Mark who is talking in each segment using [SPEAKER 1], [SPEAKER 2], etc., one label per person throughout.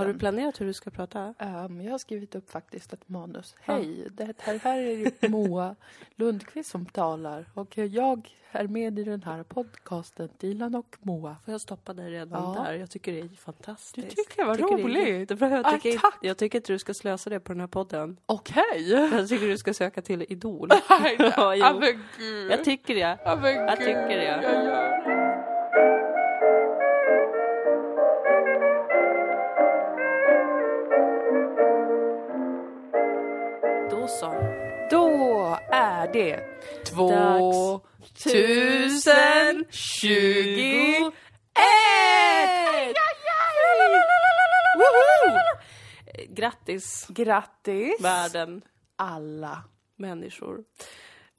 [SPEAKER 1] Har du planerat hur du ska prata?
[SPEAKER 2] Ehm, jag har skrivit upp faktiskt ett manus. Hej, det här, här är det Moa Lundqvist som talar och jag är med i den här podcasten Dilan och Moa.
[SPEAKER 1] Får jag stoppa dig redan
[SPEAKER 2] Ja.
[SPEAKER 1] där? Jag tycker det är fantastiskt.
[SPEAKER 2] Du tycker det var
[SPEAKER 1] Det är
[SPEAKER 2] roligt.
[SPEAKER 1] jättebra.
[SPEAKER 2] Ah,
[SPEAKER 1] jag, tycker,
[SPEAKER 2] tack.
[SPEAKER 1] jag tycker inte du ska slösa det på den här podden.
[SPEAKER 2] Och hej!
[SPEAKER 1] Jag tycker du ska söka till Idol.
[SPEAKER 2] Nej, nej.
[SPEAKER 1] Ja, jo.
[SPEAKER 2] Ja, men gud.
[SPEAKER 1] Jag tycker det.
[SPEAKER 2] Ja, men
[SPEAKER 1] jag
[SPEAKER 2] gud.
[SPEAKER 1] tycker det.
[SPEAKER 2] Ja, ja.
[SPEAKER 1] Då så.
[SPEAKER 2] Då är det två tusen tjugo
[SPEAKER 1] ett! Woho! Grattis
[SPEAKER 2] Grattis
[SPEAKER 1] världen,
[SPEAKER 2] alla.
[SPEAKER 1] människor.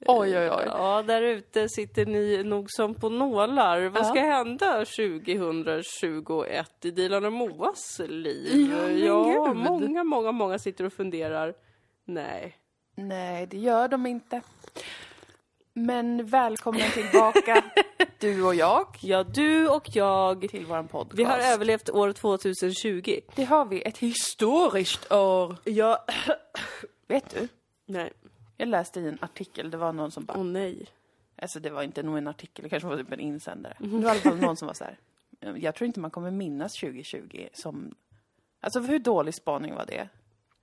[SPEAKER 2] Oj, oj, oj.
[SPEAKER 1] Ja, där ute sitter ni nog som på nålar. Vad
[SPEAKER 2] Ja.
[SPEAKER 1] ska hända 2021 i Dilan och Moas liv?
[SPEAKER 2] Ja, men gud.
[SPEAKER 1] många, många, många sitter och funderar. Nej.
[SPEAKER 2] Nej, det gör de inte. Men välkommen tillbaka, du och jag,
[SPEAKER 1] Ja, du och jag.
[SPEAKER 2] till vår podcast.
[SPEAKER 1] Vi har överlevt år 2020.
[SPEAKER 2] det har vi, ett historiskt år.
[SPEAKER 1] Ja.
[SPEAKER 2] Vet du,
[SPEAKER 1] Nej.
[SPEAKER 2] jag läste i en artikel, det var någon som bara...
[SPEAKER 1] Åh nej.
[SPEAKER 2] Alltså det var inte nog en artikel, det kanske var typ en insändare. Men det var i alla fall någon som var så här. "Mm, Jag tror inte man kommer minnas 2020 som... Alltså hur dålig spaning var det?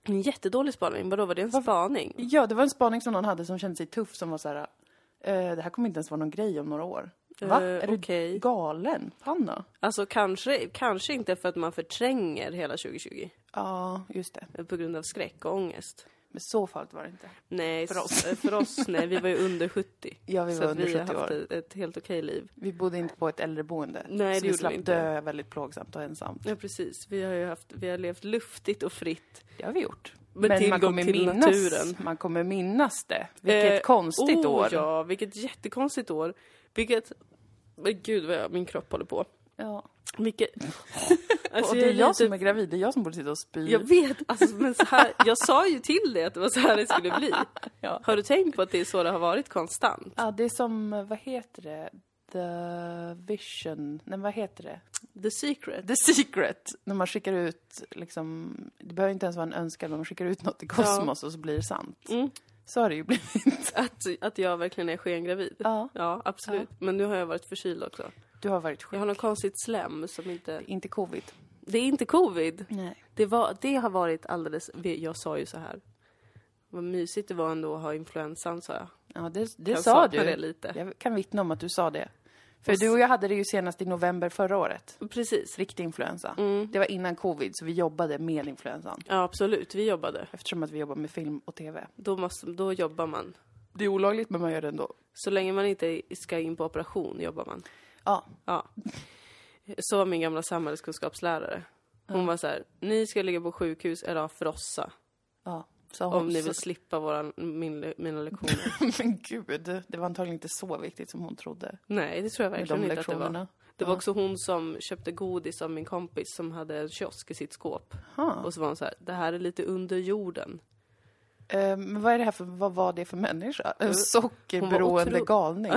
[SPEAKER 1] En jättedålig spaning. Vadå, var det en spaning?
[SPEAKER 2] Ja, det var en spaning som någon hade som kände sig tuff som var så här. Eh, det här kommer inte ens vara någon grej om några år. Va?
[SPEAKER 1] Eh,
[SPEAKER 2] är du
[SPEAKER 1] okej.
[SPEAKER 2] galen? Hanna?
[SPEAKER 1] Alltså kanske, kanske inte för att man förtränger hela 2020
[SPEAKER 2] Ja, just det.
[SPEAKER 1] eh, på grund av skräck och ångäst.
[SPEAKER 2] Men så farligt var det inte.
[SPEAKER 1] Nej,
[SPEAKER 2] För oss.
[SPEAKER 1] s- för oss nej. Vi var ju under 70.
[SPEAKER 2] Ja, vi
[SPEAKER 1] så
[SPEAKER 2] var
[SPEAKER 1] att
[SPEAKER 2] under
[SPEAKER 1] vi har
[SPEAKER 2] 70
[SPEAKER 1] haft
[SPEAKER 2] år.
[SPEAKER 1] ett, ett helt okej liv.
[SPEAKER 2] Vi bodde inte på ett äldreboende.
[SPEAKER 1] Nej, det
[SPEAKER 2] så
[SPEAKER 1] gjorde
[SPEAKER 2] vi
[SPEAKER 1] vi
[SPEAKER 2] slapp
[SPEAKER 1] inte.
[SPEAKER 2] dö väldigt plågsamt och ensamt.
[SPEAKER 1] Ja, precis. Vi har ju haft, vi har levt luftigt och fritt.
[SPEAKER 2] Det har vi gjort.
[SPEAKER 1] Med tillgång till naturen.
[SPEAKER 2] Man kommer minnas det. Vilket
[SPEAKER 1] Eh,
[SPEAKER 2] konstigt
[SPEAKER 1] oh,
[SPEAKER 2] år.
[SPEAKER 1] ja, vilket jättekonstigt år. Vilket... Men gud vad jag, min kropp håller på.
[SPEAKER 2] Ja.
[SPEAKER 1] Vilket... Alltså,
[SPEAKER 2] och det är jag
[SPEAKER 1] lite-
[SPEAKER 2] som är gravid, det är jag som borde sitta och spy.
[SPEAKER 1] Jag vet, alltså, men så här, jag sa ju till dig att det var så här det skulle bli.
[SPEAKER 2] Ja.
[SPEAKER 1] Har du tänkt på att det är så det har varit konstant?
[SPEAKER 2] Ja, det är som, vad heter det? The vision, nej vad heter det?
[SPEAKER 1] The secret.
[SPEAKER 2] The secret. När man skickar ut, liksom, det behöver inte ens vara en önskan, men man skickar ut något i kosmos och så blir det sant.
[SPEAKER 1] Mm.
[SPEAKER 2] Så har det ju blivit.
[SPEAKER 1] Att, att jag verkligen är skengravid.
[SPEAKER 2] Ja.
[SPEAKER 1] Ja, absolut. Men nu har jag varit förkyld också.
[SPEAKER 2] Du har varit
[SPEAKER 1] Jag
[SPEAKER 2] sjuk.
[SPEAKER 1] har något konstigt slem som inte...
[SPEAKER 2] Inte covid.
[SPEAKER 1] Det är inte covid.
[SPEAKER 2] Nej.
[SPEAKER 1] Det, var, det har varit alldeles... Jag sa ju så här. Vad mysigt det var ändå att ha influensan, sa jag.
[SPEAKER 2] Ja, det, det
[SPEAKER 1] Jag
[SPEAKER 2] sa
[SPEAKER 1] saknar
[SPEAKER 2] du.
[SPEAKER 1] det lite.
[SPEAKER 2] Jag kan vittna om att du sa det. För du och jag hade det ju senast i november förra året.
[SPEAKER 1] Precis.
[SPEAKER 2] Riktig influensa.
[SPEAKER 1] Mm.
[SPEAKER 2] Det var innan covid, så vi jobbade med influensan.
[SPEAKER 1] Ja, absolut. Vi jobbade.
[SPEAKER 2] Eftersom att vi jobbar med film och tv.
[SPEAKER 1] Då, måste, då jobbar man.
[SPEAKER 2] Det är olagligt, men man gör det ändå.
[SPEAKER 1] Så länge man inte ska in på operation jobbar man.
[SPEAKER 2] Ja.
[SPEAKER 1] Ja. Så var min gamla samhällskunskapslärare. Hon var så här, ni ska ligga på sjukhus eller ha frossa
[SPEAKER 2] ja. Så
[SPEAKER 1] om ni vill slippa våra, min, mina lektioner.
[SPEAKER 2] Men gud, det var antagligen inte så viktigt som hon trodde.
[SPEAKER 1] Nej, det tror jag
[SPEAKER 2] Med
[SPEAKER 1] verkligen
[SPEAKER 2] de
[SPEAKER 1] inte att det var.
[SPEAKER 2] lektionerna.
[SPEAKER 1] Det var också hon som köpte godis av min kompis som hade en kiosk i sitt skåp.
[SPEAKER 2] Ha.
[SPEAKER 1] Och så var hon så här, det här är lite under jorden.
[SPEAKER 2] Eh, Men vad är det här för, vad var det för människa? En
[SPEAKER 1] Eh, Hon var
[SPEAKER 2] sockerberoende
[SPEAKER 1] otro-
[SPEAKER 2] galning.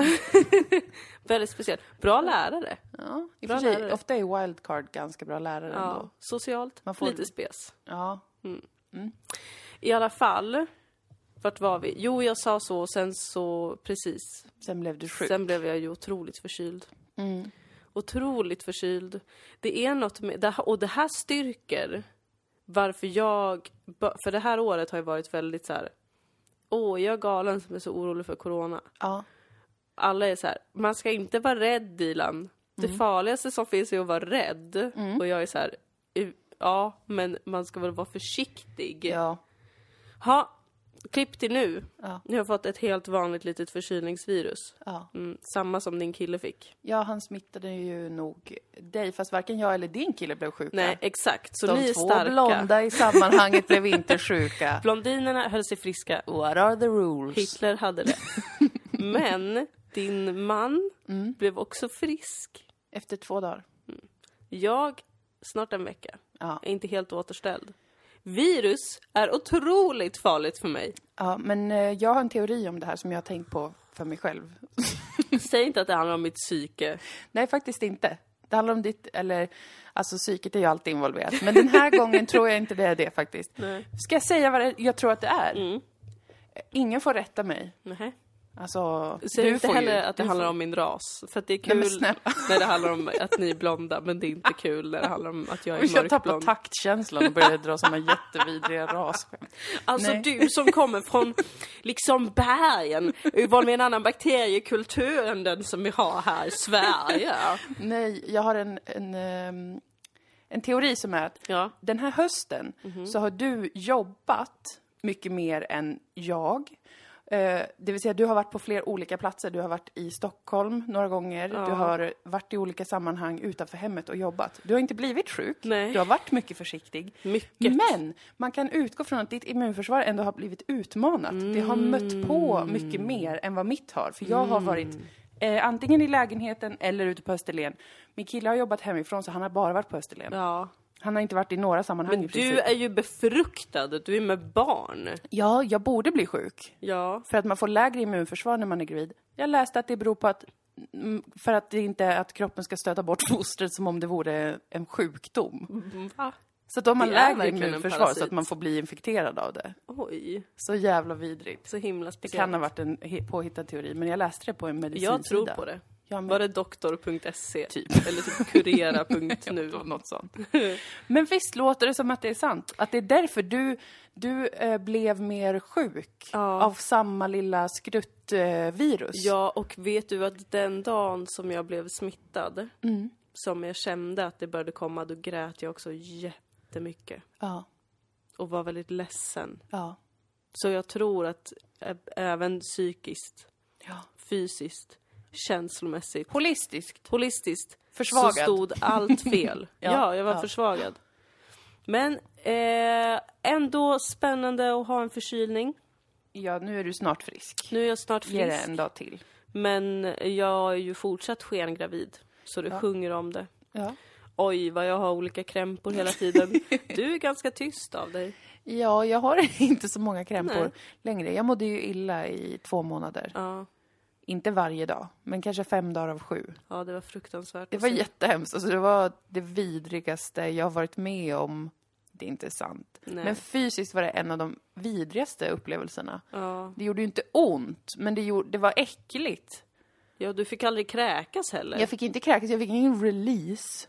[SPEAKER 1] Väldigt speciellt. Bra lärare.
[SPEAKER 2] Ja, i och
[SPEAKER 1] Bra
[SPEAKER 2] för sig,
[SPEAKER 1] lärare.
[SPEAKER 2] ofta är wildcard ganska bra lärare ändå.
[SPEAKER 1] Ja, socialt,
[SPEAKER 2] Man får-
[SPEAKER 1] lite spes.
[SPEAKER 2] Ja.
[SPEAKER 1] I alla fall, vart var vi? Jo, jag sa så, sen så, precis,
[SPEAKER 2] Sen blev du sjuk.
[SPEAKER 1] Sen blev jag ju otroligt förkyld.
[SPEAKER 2] Mm.
[SPEAKER 1] Otroligt förkyld. Det är något med, det här- och det här styrker varför jag, för det här året har ju varit väldigt så här. åh jag är galen som är så orolig för corona.
[SPEAKER 2] Ja.
[SPEAKER 1] Alla är så här, man ska inte vara rädd Dilan. Det
[SPEAKER 2] Mm.
[SPEAKER 1] farligaste som finns är att vara rädd. Och jag är så här, "U- ja men man ska väl vara försiktig.
[SPEAKER 2] ja.
[SPEAKER 1] Ha, klipp till nu.
[SPEAKER 2] Ja.
[SPEAKER 1] Nu har jag fått ett helt vanligt litet förkylningsvirus.
[SPEAKER 2] Ja.
[SPEAKER 1] Mm, samma som din kille fick.
[SPEAKER 2] Ja, han smittade ju nog dig, fast varken jag eller din kille blev sjuka.
[SPEAKER 1] Nej, exakt. Så
[SPEAKER 2] De
[SPEAKER 1] ni är
[SPEAKER 2] två
[SPEAKER 1] starka.
[SPEAKER 2] blonda i sammanhanget blev inte sjuka.
[SPEAKER 1] Blondinerna höll sig friska.
[SPEAKER 2] What are the rules?
[SPEAKER 1] Hitler hade det. Men din man
[SPEAKER 2] Mm.
[SPEAKER 1] blev också frisk.
[SPEAKER 2] Efter två dagar.
[SPEAKER 1] Jag, snart en vecka,
[SPEAKER 2] Ja.
[SPEAKER 1] är inte helt återställd. Virus är otroligt farligt för mig.
[SPEAKER 2] Ja, men eh, jag har en teori om det här som jag har tänkt på för mig själv.
[SPEAKER 1] Säg inte att det handlar om mitt psyke.
[SPEAKER 2] Nej, faktiskt inte. Det handlar om ditt, eller Alltså psyket är ju alltid involverat. Men den här gången tror jag inte det är det faktiskt.
[SPEAKER 1] Nej.
[SPEAKER 2] Ska jag säga vad det, jag tror att det är?
[SPEAKER 1] Mm.
[SPEAKER 2] Ingen får rätta mig.
[SPEAKER 1] Nej.
[SPEAKER 2] Alltså,
[SPEAKER 1] Säg inte
[SPEAKER 2] får ju-
[SPEAKER 1] heller att det
[SPEAKER 2] du
[SPEAKER 1] handlar
[SPEAKER 2] får-
[SPEAKER 1] om min ras. För att det är
[SPEAKER 2] Nej, men
[SPEAKER 1] kul
[SPEAKER 2] snälla.
[SPEAKER 1] när det handlar om att ni är blonda, men det är inte kul när det handlar om att jag är
[SPEAKER 2] Jag tappade
[SPEAKER 1] mörkblond.
[SPEAKER 2] taktkänslan och började dra såna jättevidriga rasskämt.
[SPEAKER 1] Alltså
[SPEAKER 2] Nej.
[SPEAKER 1] du som kommer från liksom bergen, är van vid en annan bakteriekultur än den som vi har här i Sverige.
[SPEAKER 2] Nej, jag har en, en, ehm, en teori som är att
[SPEAKER 1] Ja.
[SPEAKER 2] den här hösten
[SPEAKER 1] Mhm.
[SPEAKER 2] så har du jobbat mycket mer än jag. Eh, Det vill säga, du har varit på fler olika platser. Du har varit i Stockholm några gånger. Du har varit i olika sammanhang utanför hemmet och jobbat. Du har inte blivit sjuk.
[SPEAKER 1] Nej.
[SPEAKER 2] Du har varit mycket försiktig.
[SPEAKER 1] Mycket.
[SPEAKER 2] Men man kan utgå från att ditt immunförsvar ändå har blivit utmanat. Det har
[SPEAKER 1] Mm.
[SPEAKER 2] mött på mycket mer än vad mitt har. För jag har varit eh, antingen i lägenheten eller ute på Österlen. Min kille har jobbat hemifrån så han har bara varit på Österlen.
[SPEAKER 1] Ja.
[SPEAKER 2] Han har inte varit i några sammanhang i princip.
[SPEAKER 1] Du är ju befruktad, du är med barn.
[SPEAKER 2] Ja, jag borde bli sjuk.
[SPEAKER 1] Ja.
[SPEAKER 2] För att man får lägre immunförsvar när man är gravid. Jag läste att det beror på att mm, för att det inte är att kroppen ska stöta bort fostret som om det vore en sjukdom.
[SPEAKER 1] Va?
[SPEAKER 2] Så att de har
[SPEAKER 1] Det är
[SPEAKER 2] lägre
[SPEAKER 1] verkligen en
[SPEAKER 2] immunförsvar
[SPEAKER 1] parasit.
[SPEAKER 2] så att man får bli infekterad av det.
[SPEAKER 1] Oj,
[SPEAKER 2] Så jävla vidrigt.
[SPEAKER 1] så himla
[SPEAKER 2] Det
[SPEAKER 1] speciellt.
[SPEAKER 2] kan ha varit en he- påhittad teori, men jag läste det på en medicinsida.
[SPEAKER 1] jag tror på det.
[SPEAKER 2] Ja, men-
[SPEAKER 1] Var det doktor.se?
[SPEAKER 2] Typ.
[SPEAKER 1] Eller typ
[SPEAKER 2] nu.
[SPEAKER 1] kurera.nu?
[SPEAKER 2] Något sånt. Men visst låter det som att det är sant? Att det är därför du, du eh, blev mer sjuk
[SPEAKER 1] Ja.
[SPEAKER 2] av samma lilla skruttvirus? Eh, virus.
[SPEAKER 1] Ja, och vet du att den dagen som jag blev smittad,
[SPEAKER 2] Mm.
[SPEAKER 1] som jag kände att det började komma, då grät jag också jättemycket.
[SPEAKER 2] ja.
[SPEAKER 1] Och var väldigt ledsen.
[SPEAKER 2] ja.
[SPEAKER 1] Så jag tror att ä- även psykiskt,
[SPEAKER 2] Ja.
[SPEAKER 1] fysiskt, känslomässigt,
[SPEAKER 2] Holistiskt.
[SPEAKER 1] holistiskt,
[SPEAKER 2] Försvagad.
[SPEAKER 1] så stod allt fel. ja,
[SPEAKER 2] Ja,
[SPEAKER 1] jag var
[SPEAKER 2] ja.
[SPEAKER 1] försvagad. Men eh, ändå spännande att ha en förkylning.
[SPEAKER 2] Ja, nu är du snart frisk.
[SPEAKER 1] Nu är jag snart
[SPEAKER 2] Ge det
[SPEAKER 1] frisk,
[SPEAKER 2] en dag till.
[SPEAKER 1] men jag är ju fortsatt skengravid. Så det sjunger om det.
[SPEAKER 2] Ja.
[SPEAKER 1] Oj, vad jag har olika krämpor hela tiden. Du är ganska tyst av dig.
[SPEAKER 2] ja, jag har inte så många krämpor
[SPEAKER 1] Nej.
[SPEAKER 2] längre. Jag mådde ju illa i två månader.
[SPEAKER 1] Ja,
[SPEAKER 2] Inte varje dag, men kanske fem dagar av sju.
[SPEAKER 1] ja det var fruktansvärt.
[SPEAKER 2] Det
[SPEAKER 1] att
[SPEAKER 2] var
[SPEAKER 1] se.
[SPEAKER 2] jättehemskt. Alltså, det var det vidrigaste jag har varit med om. Det är inte sant.
[SPEAKER 1] Nej.
[SPEAKER 2] Men fysiskt var det en av de vidrigaste upplevelserna.
[SPEAKER 1] ja.
[SPEAKER 2] Det gjorde ju inte ont, men det, gjorde, det var äckligt.
[SPEAKER 1] ja, du fick aldrig kräkas heller.
[SPEAKER 2] Jag fick inte kräkas, jag fick ingen release.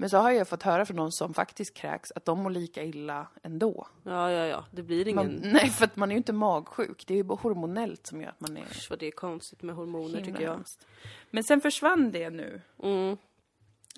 [SPEAKER 2] Men så har jag fått höra från någon som faktiskt kräks att de mår lika illa ändå.
[SPEAKER 1] Ja, ja, ja. Det blir
[SPEAKER 2] Man,
[SPEAKER 1] ingen...
[SPEAKER 2] Nej, för att man är ju inte magsjuk. Det är ju bara hormonellt som gör att man är...
[SPEAKER 1] Usch, vad det är konstigt med hormoner
[SPEAKER 2] Himla
[SPEAKER 1] tycker jag.
[SPEAKER 2] hemskt. Men sen försvann det nu.
[SPEAKER 1] Mm.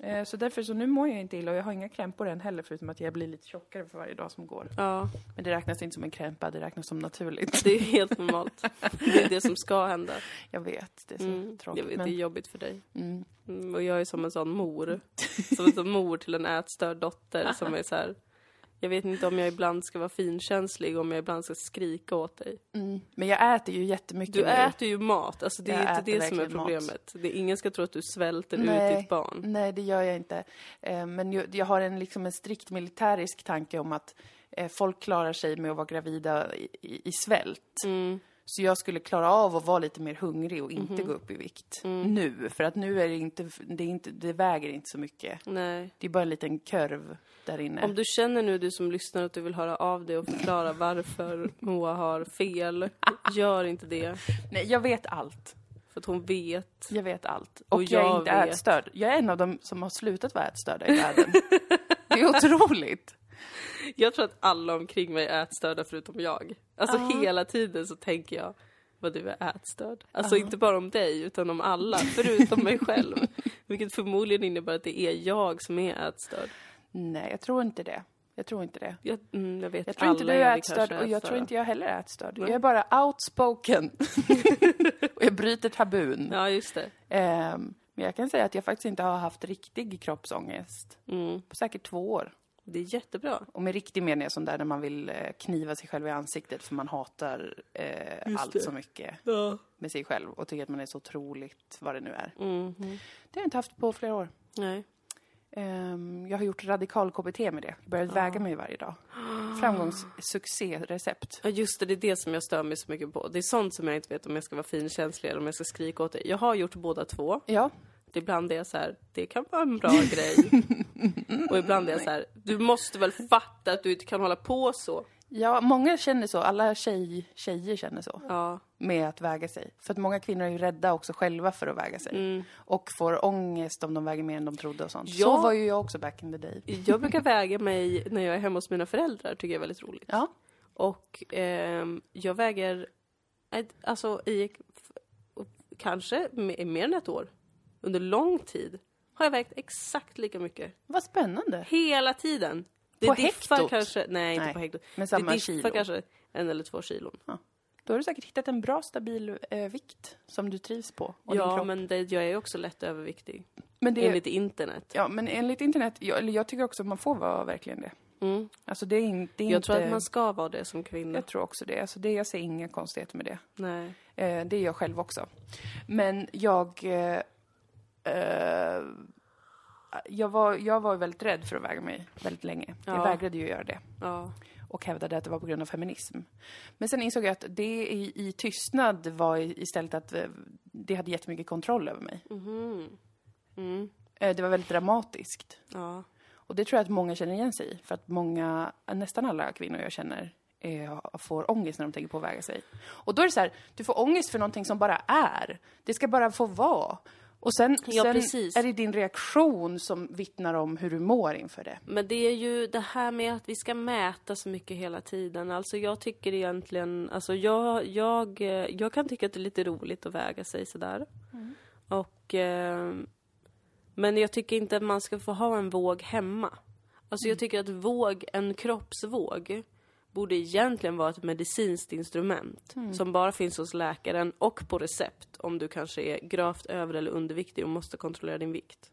[SPEAKER 2] Eh, Så därför så nu mår jag inte illa och jag har inga krämpor än heller förutom att jag blir lite tjockare för varje dag som går.
[SPEAKER 1] Ja,
[SPEAKER 2] Men det räknas inte som en krämpa, det räknas som naturligt.
[SPEAKER 1] det är helt normalt. Det är det som ska hända.
[SPEAKER 2] Jag vet, det är så
[SPEAKER 1] Mm. Jag
[SPEAKER 2] tråkigt.
[SPEAKER 1] vet, det är
[SPEAKER 2] men...
[SPEAKER 1] jobbigt för dig.
[SPEAKER 2] mm.
[SPEAKER 1] Mm, och jag är som en sån mor. Som en sån mor till en ätstörd dotter som är så här... Jag vet inte om jag ibland ska vara finkänslig, om jag ibland ska skrika åt dig.
[SPEAKER 2] Mm. men jag äter ju jättemycket
[SPEAKER 1] Du
[SPEAKER 2] nu.
[SPEAKER 1] äter ju mat, alltså det är
[SPEAKER 2] Jag
[SPEAKER 1] inte
[SPEAKER 2] äter
[SPEAKER 1] det som är
[SPEAKER 2] verkligen mat.
[SPEAKER 1] problemet. Det, ingen ska tro att du svälter
[SPEAKER 2] Nej.
[SPEAKER 1] ut ditt barn.
[SPEAKER 2] Nej, det gör jag inte. Eh, Men ju- jag har en, liksom en strikt militärisk tanke om att eh, folk klarar sig med att vara gravida i, i i svält. Så jag skulle klara av att vara lite mer hungrig och inte gå upp i vikt nu. För att nu är det inte, det, är inte, det väger inte så mycket.
[SPEAKER 1] Nej.
[SPEAKER 2] Det är bara en liten kurv där inne.
[SPEAKER 1] Om du känner nu, du som lyssnar, att du vill höra av dig och förklara varför Moa har fel, gör inte det.
[SPEAKER 2] Nej, jag vet allt.
[SPEAKER 1] För att hon vet.
[SPEAKER 2] Jag vet allt. Och,
[SPEAKER 1] Och
[SPEAKER 2] jag, är
[SPEAKER 1] jag
[SPEAKER 2] inte
[SPEAKER 1] vet.
[SPEAKER 2] ätstörd. Jag är en av dem som har slutat vara ätstörda i världen. det är otroligt.
[SPEAKER 1] Jag tror att alla omkring mig är ätstörda förutom jag. Alltså hela tiden så tänker jag vad du är ätstörd. Alltså inte bara om dig, utan om alla, förutom mig själv. Vilket förmodligen innebär att det är jag som är ätstörd.
[SPEAKER 2] Nej, jag tror inte det. Jag tror inte det.
[SPEAKER 1] Jag, mm, jag vet
[SPEAKER 2] Jag tror inte
[SPEAKER 1] alla
[SPEAKER 2] du är
[SPEAKER 1] vi kanske
[SPEAKER 2] ätstörd och jag tror
[SPEAKER 1] ätstörda.
[SPEAKER 2] inte jag heller är ätstörd. Jag är bara outspoken. och jag bryter tabun.
[SPEAKER 1] Ja, just det.
[SPEAKER 2] Ehm, men jag kan säga att jag faktiskt inte har haft riktig kroppsångest
[SPEAKER 1] Mm.
[SPEAKER 2] på säkert två år.
[SPEAKER 1] Det är jättebra.
[SPEAKER 2] Och med riktig mening är sån där när man vill eh, kniva sig själv i ansiktet för man hatar eh, allt så mycket
[SPEAKER 1] Ja.
[SPEAKER 2] med sig själv och tycker att man är så otroligt vad det nu är.
[SPEAKER 1] Mm.
[SPEAKER 2] Det har jag inte haft på flera år.
[SPEAKER 1] Nej.
[SPEAKER 2] Ehm, jag har gjort radikal-KBT med det. Jag börjat
[SPEAKER 1] Ah.
[SPEAKER 2] väga mig varje dag. Framgångssuccérecept.
[SPEAKER 1] Ja, just det. Det är det som jag stör mig så mycket på. Det är sånt som jag inte vet om jag ska vara finkänslig eller om jag ska skrika åt dig. Jag har gjort båda två.
[SPEAKER 2] Ja,
[SPEAKER 1] Ibland är jag så här, det kan vara en bra grej. Och ibland är jag så här, du måste väl fatta att du inte kan hålla på så.
[SPEAKER 2] Ja, många känner så. Alla tjej, tjejer känner så.
[SPEAKER 1] Ja,
[SPEAKER 2] Med att väga sig. För att många kvinnor är ju rädda också själva för att väga sig. Och får ångest om de väger mer än de trodde och sånt. Så
[SPEAKER 1] Mm. Ja.
[SPEAKER 2] var ju jag också back in the day.
[SPEAKER 1] jag brukar väga mig när jag är hemma hos mina föräldrar, tycker jag är väldigt roligt.
[SPEAKER 2] Ja.
[SPEAKER 1] Och ehm, jag väger, eh, alltså i f- kanske me- mer än ett år, under lång tid, har jag vägt exakt lika mycket.
[SPEAKER 2] Vad spännande.
[SPEAKER 1] Hela tiden. Det
[SPEAKER 2] På
[SPEAKER 1] diffar
[SPEAKER 2] hektot?
[SPEAKER 1] kanske, nej inte
[SPEAKER 2] Nej,
[SPEAKER 1] på hektot.
[SPEAKER 2] men
[SPEAKER 1] Det
[SPEAKER 2] samma
[SPEAKER 1] diffar
[SPEAKER 2] kilo.
[SPEAKER 1] kanske en eller två kilon.
[SPEAKER 2] Då har du säkert hittat en bra stabil eh, vikt som du trivs på. Och din
[SPEAKER 1] Ja
[SPEAKER 2] kropp.
[SPEAKER 1] men det, jag är ju också lätt överviktig.
[SPEAKER 2] men det,
[SPEAKER 1] Enligt internet.
[SPEAKER 2] ja, men enligt internet, jag, eller jag tycker också att man får vara verkligen det.
[SPEAKER 1] Mm.
[SPEAKER 2] Alltså det är, in, det är
[SPEAKER 1] Jag
[SPEAKER 2] inte...
[SPEAKER 1] tror att man ska vara det som kvinna.
[SPEAKER 2] Jag tror också det. Alltså det, jag ser inga konstigheter med det.
[SPEAKER 1] Nej.
[SPEAKER 2] Eh, det är jag själv också. Men jag... Eh, eh, jag, var, jag var ju väldigt rädd för att väga mig väldigt länge. Jag
[SPEAKER 1] Ja.
[SPEAKER 2] vägrade ju göra det
[SPEAKER 1] Ja.
[SPEAKER 2] och hävdade att det var på grund av feminism. Men sen insåg jag att det i, i tystnad var i- istället att eh, det hade jättemycket kontroll över mig.
[SPEAKER 1] Mhm. Mm.
[SPEAKER 2] Eh, Det var väldigt dramatiskt.
[SPEAKER 1] Ja.
[SPEAKER 2] Och det tror jag att många känner igen sig i. För att många, nästan alla kvinnor jag känner eh, får ångest när de tänker på att väga sig. Och då är det så här, du får ångest för någonting som bara är. Det ska bara få vara. Och sen,
[SPEAKER 1] Ja,
[SPEAKER 2] sen
[SPEAKER 1] precis.
[SPEAKER 2] är det din reaktion som vittnar om hur du mår inför det.
[SPEAKER 1] Men det är ju det här med att vi ska mäta så mycket hela tiden. Alltså jag tycker egentligen, alltså jag, jag, eh, jag kan tycka att det är lite roligt att väga sig sådär. Och, eh, men jag tycker inte att man ska få ha en våg hemma. Alltså jag tycker att våg, en kroppsvåg, borde egentligen vara ett medicinskt instrument som bara finns hos läkaren och på recept om du kanske är gravt över eller underviktig och måste kontrollera din vikt.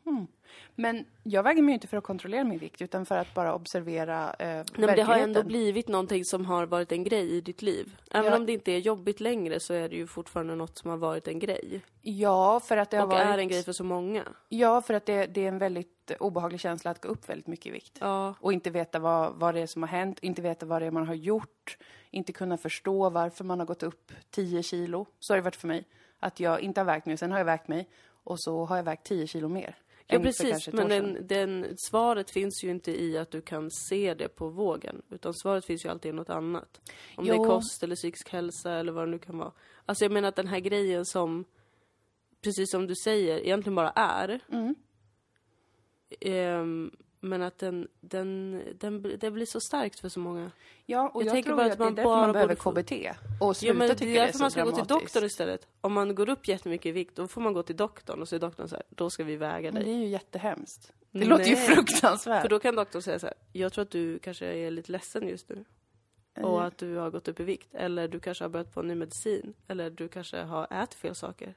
[SPEAKER 2] Men jag väger mig ju inte för att kontrollera min vikt utan för att bara observera eh,
[SPEAKER 1] Nej, men det har ändå
[SPEAKER 2] verkligheten.
[SPEAKER 1] blivit någonting som har varit en grej i ditt liv. Även
[SPEAKER 2] Ja.
[SPEAKER 1] om det inte är jobbigt längre så är det ju fortfarande något som har varit en grej.
[SPEAKER 2] Ja, för att det har
[SPEAKER 1] Och
[SPEAKER 2] varit...
[SPEAKER 1] är en grej för så många.
[SPEAKER 2] Ja, för att det, det är en väldigt obehaglig känsla att gå upp väldigt mycket i vikt.
[SPEAKER 1] Ja.
[SPEAKER 2] Och inte veta vad, vad det är som har hänt, inte veta vad det är man har gjort, inte kunna förstå varför man har gått upp 10 kilo. Så har det varit för mig. Att jag inte har vägt mig, och sen har jag vägt mig och så har jag vägt 10 kilo mer.
[SPEAKER 1] Ja
[SPEAKER 2] än för
[SPEAKER 1] precis,
[SPEAKER 2] kanske ett år
[SPEAKER 1] men
[SPEAKER 2] sedan.
[SPEAKER 1] den, den, svaret finns ju inte i att du kan se det på vågen. Utan svaret finns ju alltid i något annat. Om det
[SPEAKER 2] Jo.
[SPEAKER 1] är kost eller psykisk hälsa eller vad det nu kan vara. Alltså jag menar att den här grejen som, precis som du säger, egentligen bara är.
[SPEAKER 2] Mm.
[SPEAKER 1] Ehm, men att den, den, den, bli- det blir så starkt för så många.
[SPEAKER 2] Ja, och
[SPEAKER 1] jag
[SPEAKER 2] jag,
[SPEAKER 1] tänker
[SPEAKER 2] tror
[SPEAKER 1] bara
[SPEAKER 2] ju
[SPEAKER 1] att
[SPEAKER 2] att det
[SPEAKER 1] man
[SPEAKER 2] är därför
[SPEAKER 1] bara
[SPEAKER 2] man behöver
[SPEAKER 1] borde få-
[SPEAKER 2] KBT. Och
[SPEAKER 1] Ja,
[SPEAKER 2] sluta
[SPEAKER 1] men det
[SPEAKER 2] tycka
[SPEAKER 1] är
[SPEAKER 2] det är
[SPEAKER 1] därför
[SPEAKER 2] så
[SPEAKER 1] man ska gå till
[SPEAKER 2] dramatiskt.
[SPEAKER 1] doktorn istället. Om man går upp jättemycket i vikt, då får man gå till doktorn och så är doktorn så här, då ska vi väga
[SPEAKER 2] Men
[SPEAKER 1] dig.
[SPEAKER 2] det är ju jättehemskt. Det låter ju
[SPEAKER 1] Nej.
[SPEAKER 2] fruktansvärt.
[SPEAKER 1] För då kan doktorn säga så här, jag tror att du kanske är lite ledsen just nu.
[SPEAKER 2] Eh.
[SPEAKER 1] Och att du har gått upp i vikt. Eller du kanske har börjat på en ny medicin. Eller du kanske har ätit fel saker.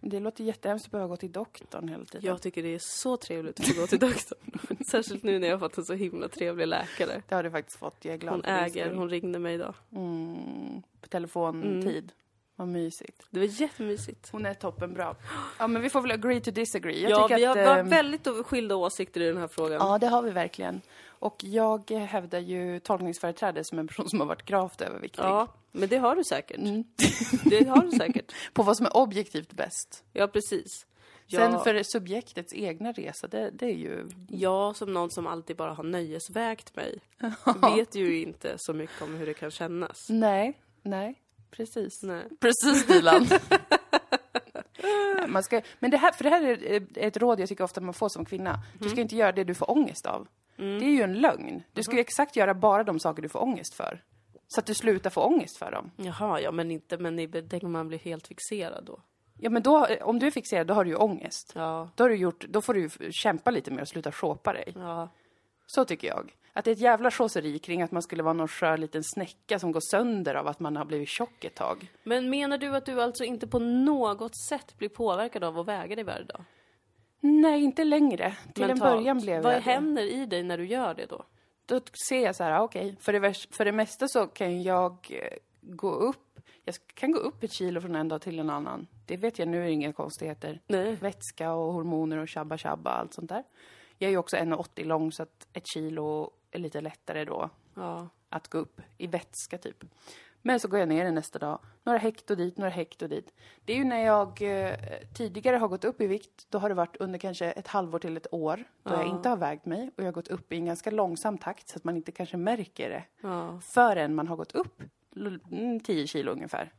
[SPEAKER 2] Det låter jättehemskt att behöva gå till doktorn hela tiden.
[SPEAKER 1] Jag tycker det är så trevligt att få gå till doktorn. Särskilt nu när jag har fått en så himla trevlig läkare.
[SPEAKER 2] Det har du faktiskt fått. Jag är glad
[SPEAKER 1] Hon
[SPEAKER 2] för din
[SPEAKER 1] äger,
[SPEAKER 2] skull.
[SPEAKER 1] hon ringde mig idag.
[SPEAKER 2] Mm, på telefontid. Vad mysigt.
[SPEAKER 1] Det var jättemysigt.
[SPEAKER 2] Mm. Hon är toppenbra. Ja, men vi får väl agree to disagree. Jag
[SPEAKER 1] ja,
[SPEAKER 2] tycker
[SPEAKER 1] vi
[SPEAKER 2] att, Mm.
[SPEAKER 1] har
[SPEAKER 2] ehm,
[SPEAKER 1] varit väldigt skilda åsikter i den här frågan.
[SPEAKER 2] Ja, det har vi verkligen. Och jag eh, hävdar ju tolkningsföreträde som en person som har varit gravt överviktig. Mm.
[SPEAKER 1] Ja, men det har du säkert. Det har du säkert.
[SPEAKER 2] På vad som är objektivt bäst.
[SPEAKER 1] Ja, precis. Ja,
[SPEAKER 2] Sen för subjektets egna resa, det, det är ju...
[SPEAKER 1] Jag som någon som alltid bara har nöjesvägt mig vet ju inte så mycket om hur det kan kännas.
[SPEAKER 2] Nej, nej, precis.
[SPEAKER 1] Nej.
[SPEAKER 2] Precis, Dilan. Nej, man ska, men det här, för det här är eh, ett råd jag tycker ofta man får som kvinna. Du ska inte göra det du får ångest av.
[SPEAKER 1] Mm.
[SPEAKER 2] Det är ju en lögn. Du
[SPEAKER 1] Mm-hmm.
[SPEAKER 2] ska ju exakt göra bara de saker du får ångest för. Så att du slutar få ångest för dem.
[SPEAKER 1] Jaha, ja men inte, men i- tänk om man blir helt fixerad då.
[SPEAKER 2] Ja, men då, eh, om du är fixerad, då har du ju ångest.
[SPEAKER 1] Ja,
[SPEAKER 2] Då, har du gjort, då får du ju f- kämpa lite mer och sluta såpa dig.
[SPEAKER 1] ja.
[SPEAKER 2] Så tycker jag. Att det är ett jävla chausseri kring att man skulle vara någon skör liten snäcka som går sönder av att man har blivit tjock ett tag.
[SPEAKER 1] Men menar du att du alltså inte på något sätt blir påverkad av att väga dig varje dag?
[SPEAKER 2] Nej, inte längre. Till en
[SPEAKER 1] Mentalt.
[SPEAKER 2] början blev
[SPEAKER 1] Vad
[SPEAKER 2] jag det.
[SPEAKER 1] händer i dig när du gör det då?
[SPEAKER 2] då ser jag så här, ah, okej, för, det vers- för det mesta så kan jag eh, gå upp, jag kan gå upp ett kilo från en dag till en annan. Det vet jag nu är det inga konstigheter.
[SPEAKER 1] Nej.
[SPEAKER 2] Vätska och hormoner och tjabba tjabba allt sånt där. Jag är ju också 1,80 lång så att ett kilo är lite lättare då
[SPEAKER 1] Ja.
[SPEAKER 2] att gå upp i vätska typ. Men så går jag ner det nästa dag. Några hekto dit, några hekto dit. Det är ju när jag eh, tidigare har gått upp i vikt. Då har det varit under kanske ett halvår till ett år. Då jag inte har vägt mig och jag har gått upp i en ganska långsam takt så att man inte kanske märker det.
[SPEAKER 1] Ja.
[SPEAKER 2] Förrän man har gått upp l- mm, 10 kilo ungefär.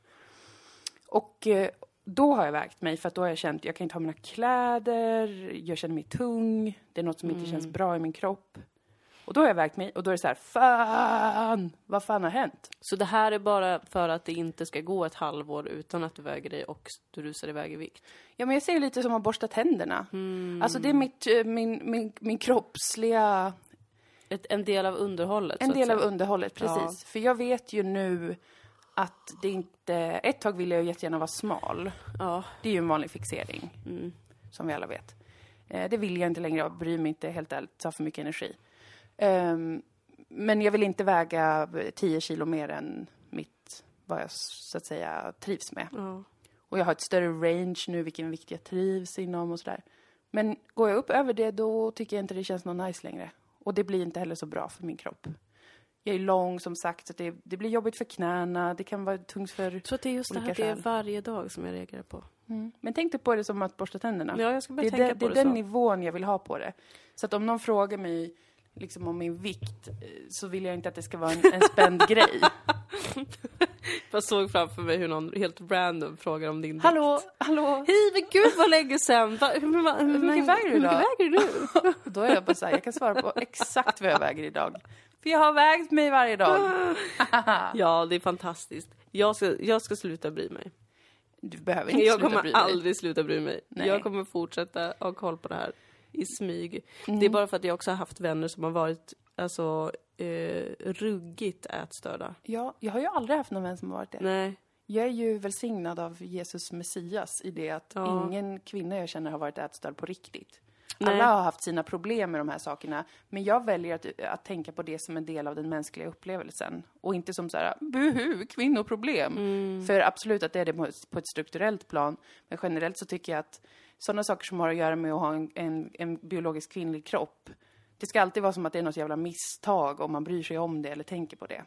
[SPEAKER 2] Och eh, då har jag vägt mig för att då har jag känt, jag kan inte ha mina kläder, jag känner mig tung, det är något som inte känns bra i min kropp. Och då har jag vägt mig och då är det så här, fan, vad fan har hänt?
[SPEAKER 1] Så det här är bara för att det inte ska gå ett halvår utan att du väger dig och du rusar iväg i vikt.
[SPEAKER 2] Ja men jag ser ju lite som att borsta tänderna. Alltså det är mitt, eh, min, min, min kroppsliga,
[SPEAKER 1] Ett, en del av underhållet.
[SPEAKER 2] en
[SPEAKER 1] så att
[SPEAKER 2] del av
[SPEAKER 1] säga.
[SPEAKER 2] underhållet, precis. För jag vet ju nu att det inte, ett tag ville jag jättegärna vara smal.
[SPEAKER 1] Ja. mm.
[SPEAKER 2] Det är ju en vanlig fixering, som vi alla vet. Eh, det vill jag inte längre, jag bryr mig inte helt ärligt, tar för mycket energi. Ehm, men jag vill inte väga 10 kilo mer än mitt, vad jag så att säga trivs med.
[SPEAKER 1] ja.
[SPEAKER 2] Och jag har ett större range nu, vilken vikt jag trivs inom och sådär. Men går jag upp över det, då tycker jag inte det känns något nice längre. Och det blir inte heller så bra för min kropp. Jag är lång som sagt, så det, det blir jobbigt för knäna, det kan vara tungt för...
[SPEAKER 1] Jag tror att det är just det här
[SPEAKER 2] Olika
[SPEAKER 1] att det är
[SPEAKER 2] skäl.
[SPEAKER 1] varje dag som jag reagerar på.
[SPEAKER 2] Men tänk dig på det som att borsta tänderna.
[SPEAKER 1] Ja, jag ska börja
[SPEAKER 2] Det är,
[SPEAKER 1] tänka
[SPEAKER 2] den-
[SPEAKER 1] på
[SPEAKER 2] det
[SPEAKER 1] det,
[SPEAKER 2] är den
[SPEAKER 1] så.
[SPEAKER 2] nivån jag vill ha på det. Så att om någon frågar mig liksom, om min vikt eh, så vill jag inte att det ska vara en, en spänd grej.
[SPEAKER 1] Jag såg framför mig hur någon helt random frågar om din
[SPEAKER 2] Hallå, hallå!
[SPEAKER 1] Hej men gud vad länge sen! Va, hur, hur, hur, hur
[SPEAKER 2] mycket väger du
[SPEAKER 1] hur mycket
[SPEAKER 2] idag?
[SPEAKER 1] väger du nu?
[SPEAKER 2] Då är jag bara så här, jag kan svara på exakt vad jag väger idag. För jag har vägt mig varje
[SPEAKER 1] Ah.
[SPEAKER 2] dag.
[SPEAKER 1] Ja, det är fantastiskt. Jag ska, jag ska sluta bry mig.
[SPEAKER 2] Du behöver inte
[SPEAKER 1] Jag
[SPEAKER 2] sluta
[SPEAKER 1] kommer
[SPEAKER 2] bry dig.
[SPEAKER 1] aldrig sluta bry mig.
[SPEAKER 2] Nej.
[SPEAKER 1] Jag kommer fortsätta ha koll på det här i smyg.
[SPEAKER 2] Mm.
[SPEAKER 1] Det är bara för att jag också har haft vänner som har varit alltså, eh, ruggigt ätstörda.
[SPEAKER 2] Ja, jag har ju aldrig haft någon vän som har varit det.
[SPEAKER 1] Nej.
[SPEAKER 2] Jag är ju välsignad av Jesus Messias i det att
[SPEAKER 1] Ja.
[SPEAKER 2] ingen kvinna jag känner har varit ätstörd på riktigt.
[SPEAKER 1] Nej.
[SPEAKER 2] Alla har haft sina problem med de här sakerna, men jag väljer att, att tänka på det som en del av den mänskliga upplevelsen. Och inte som så här, buhu, kvinnoproblem.
[SPEAKER 1] Mm.
[SPEAKER 2] För absolut att det är det på på ett strukturellt plan, men generellt så tycker jag att sådana saker som har att göra med att ha en, en, en biologisk kvinnlig kropp, det ska alltid vara som att det är något jävla misstag om man bryr sig om det eller tänker på det.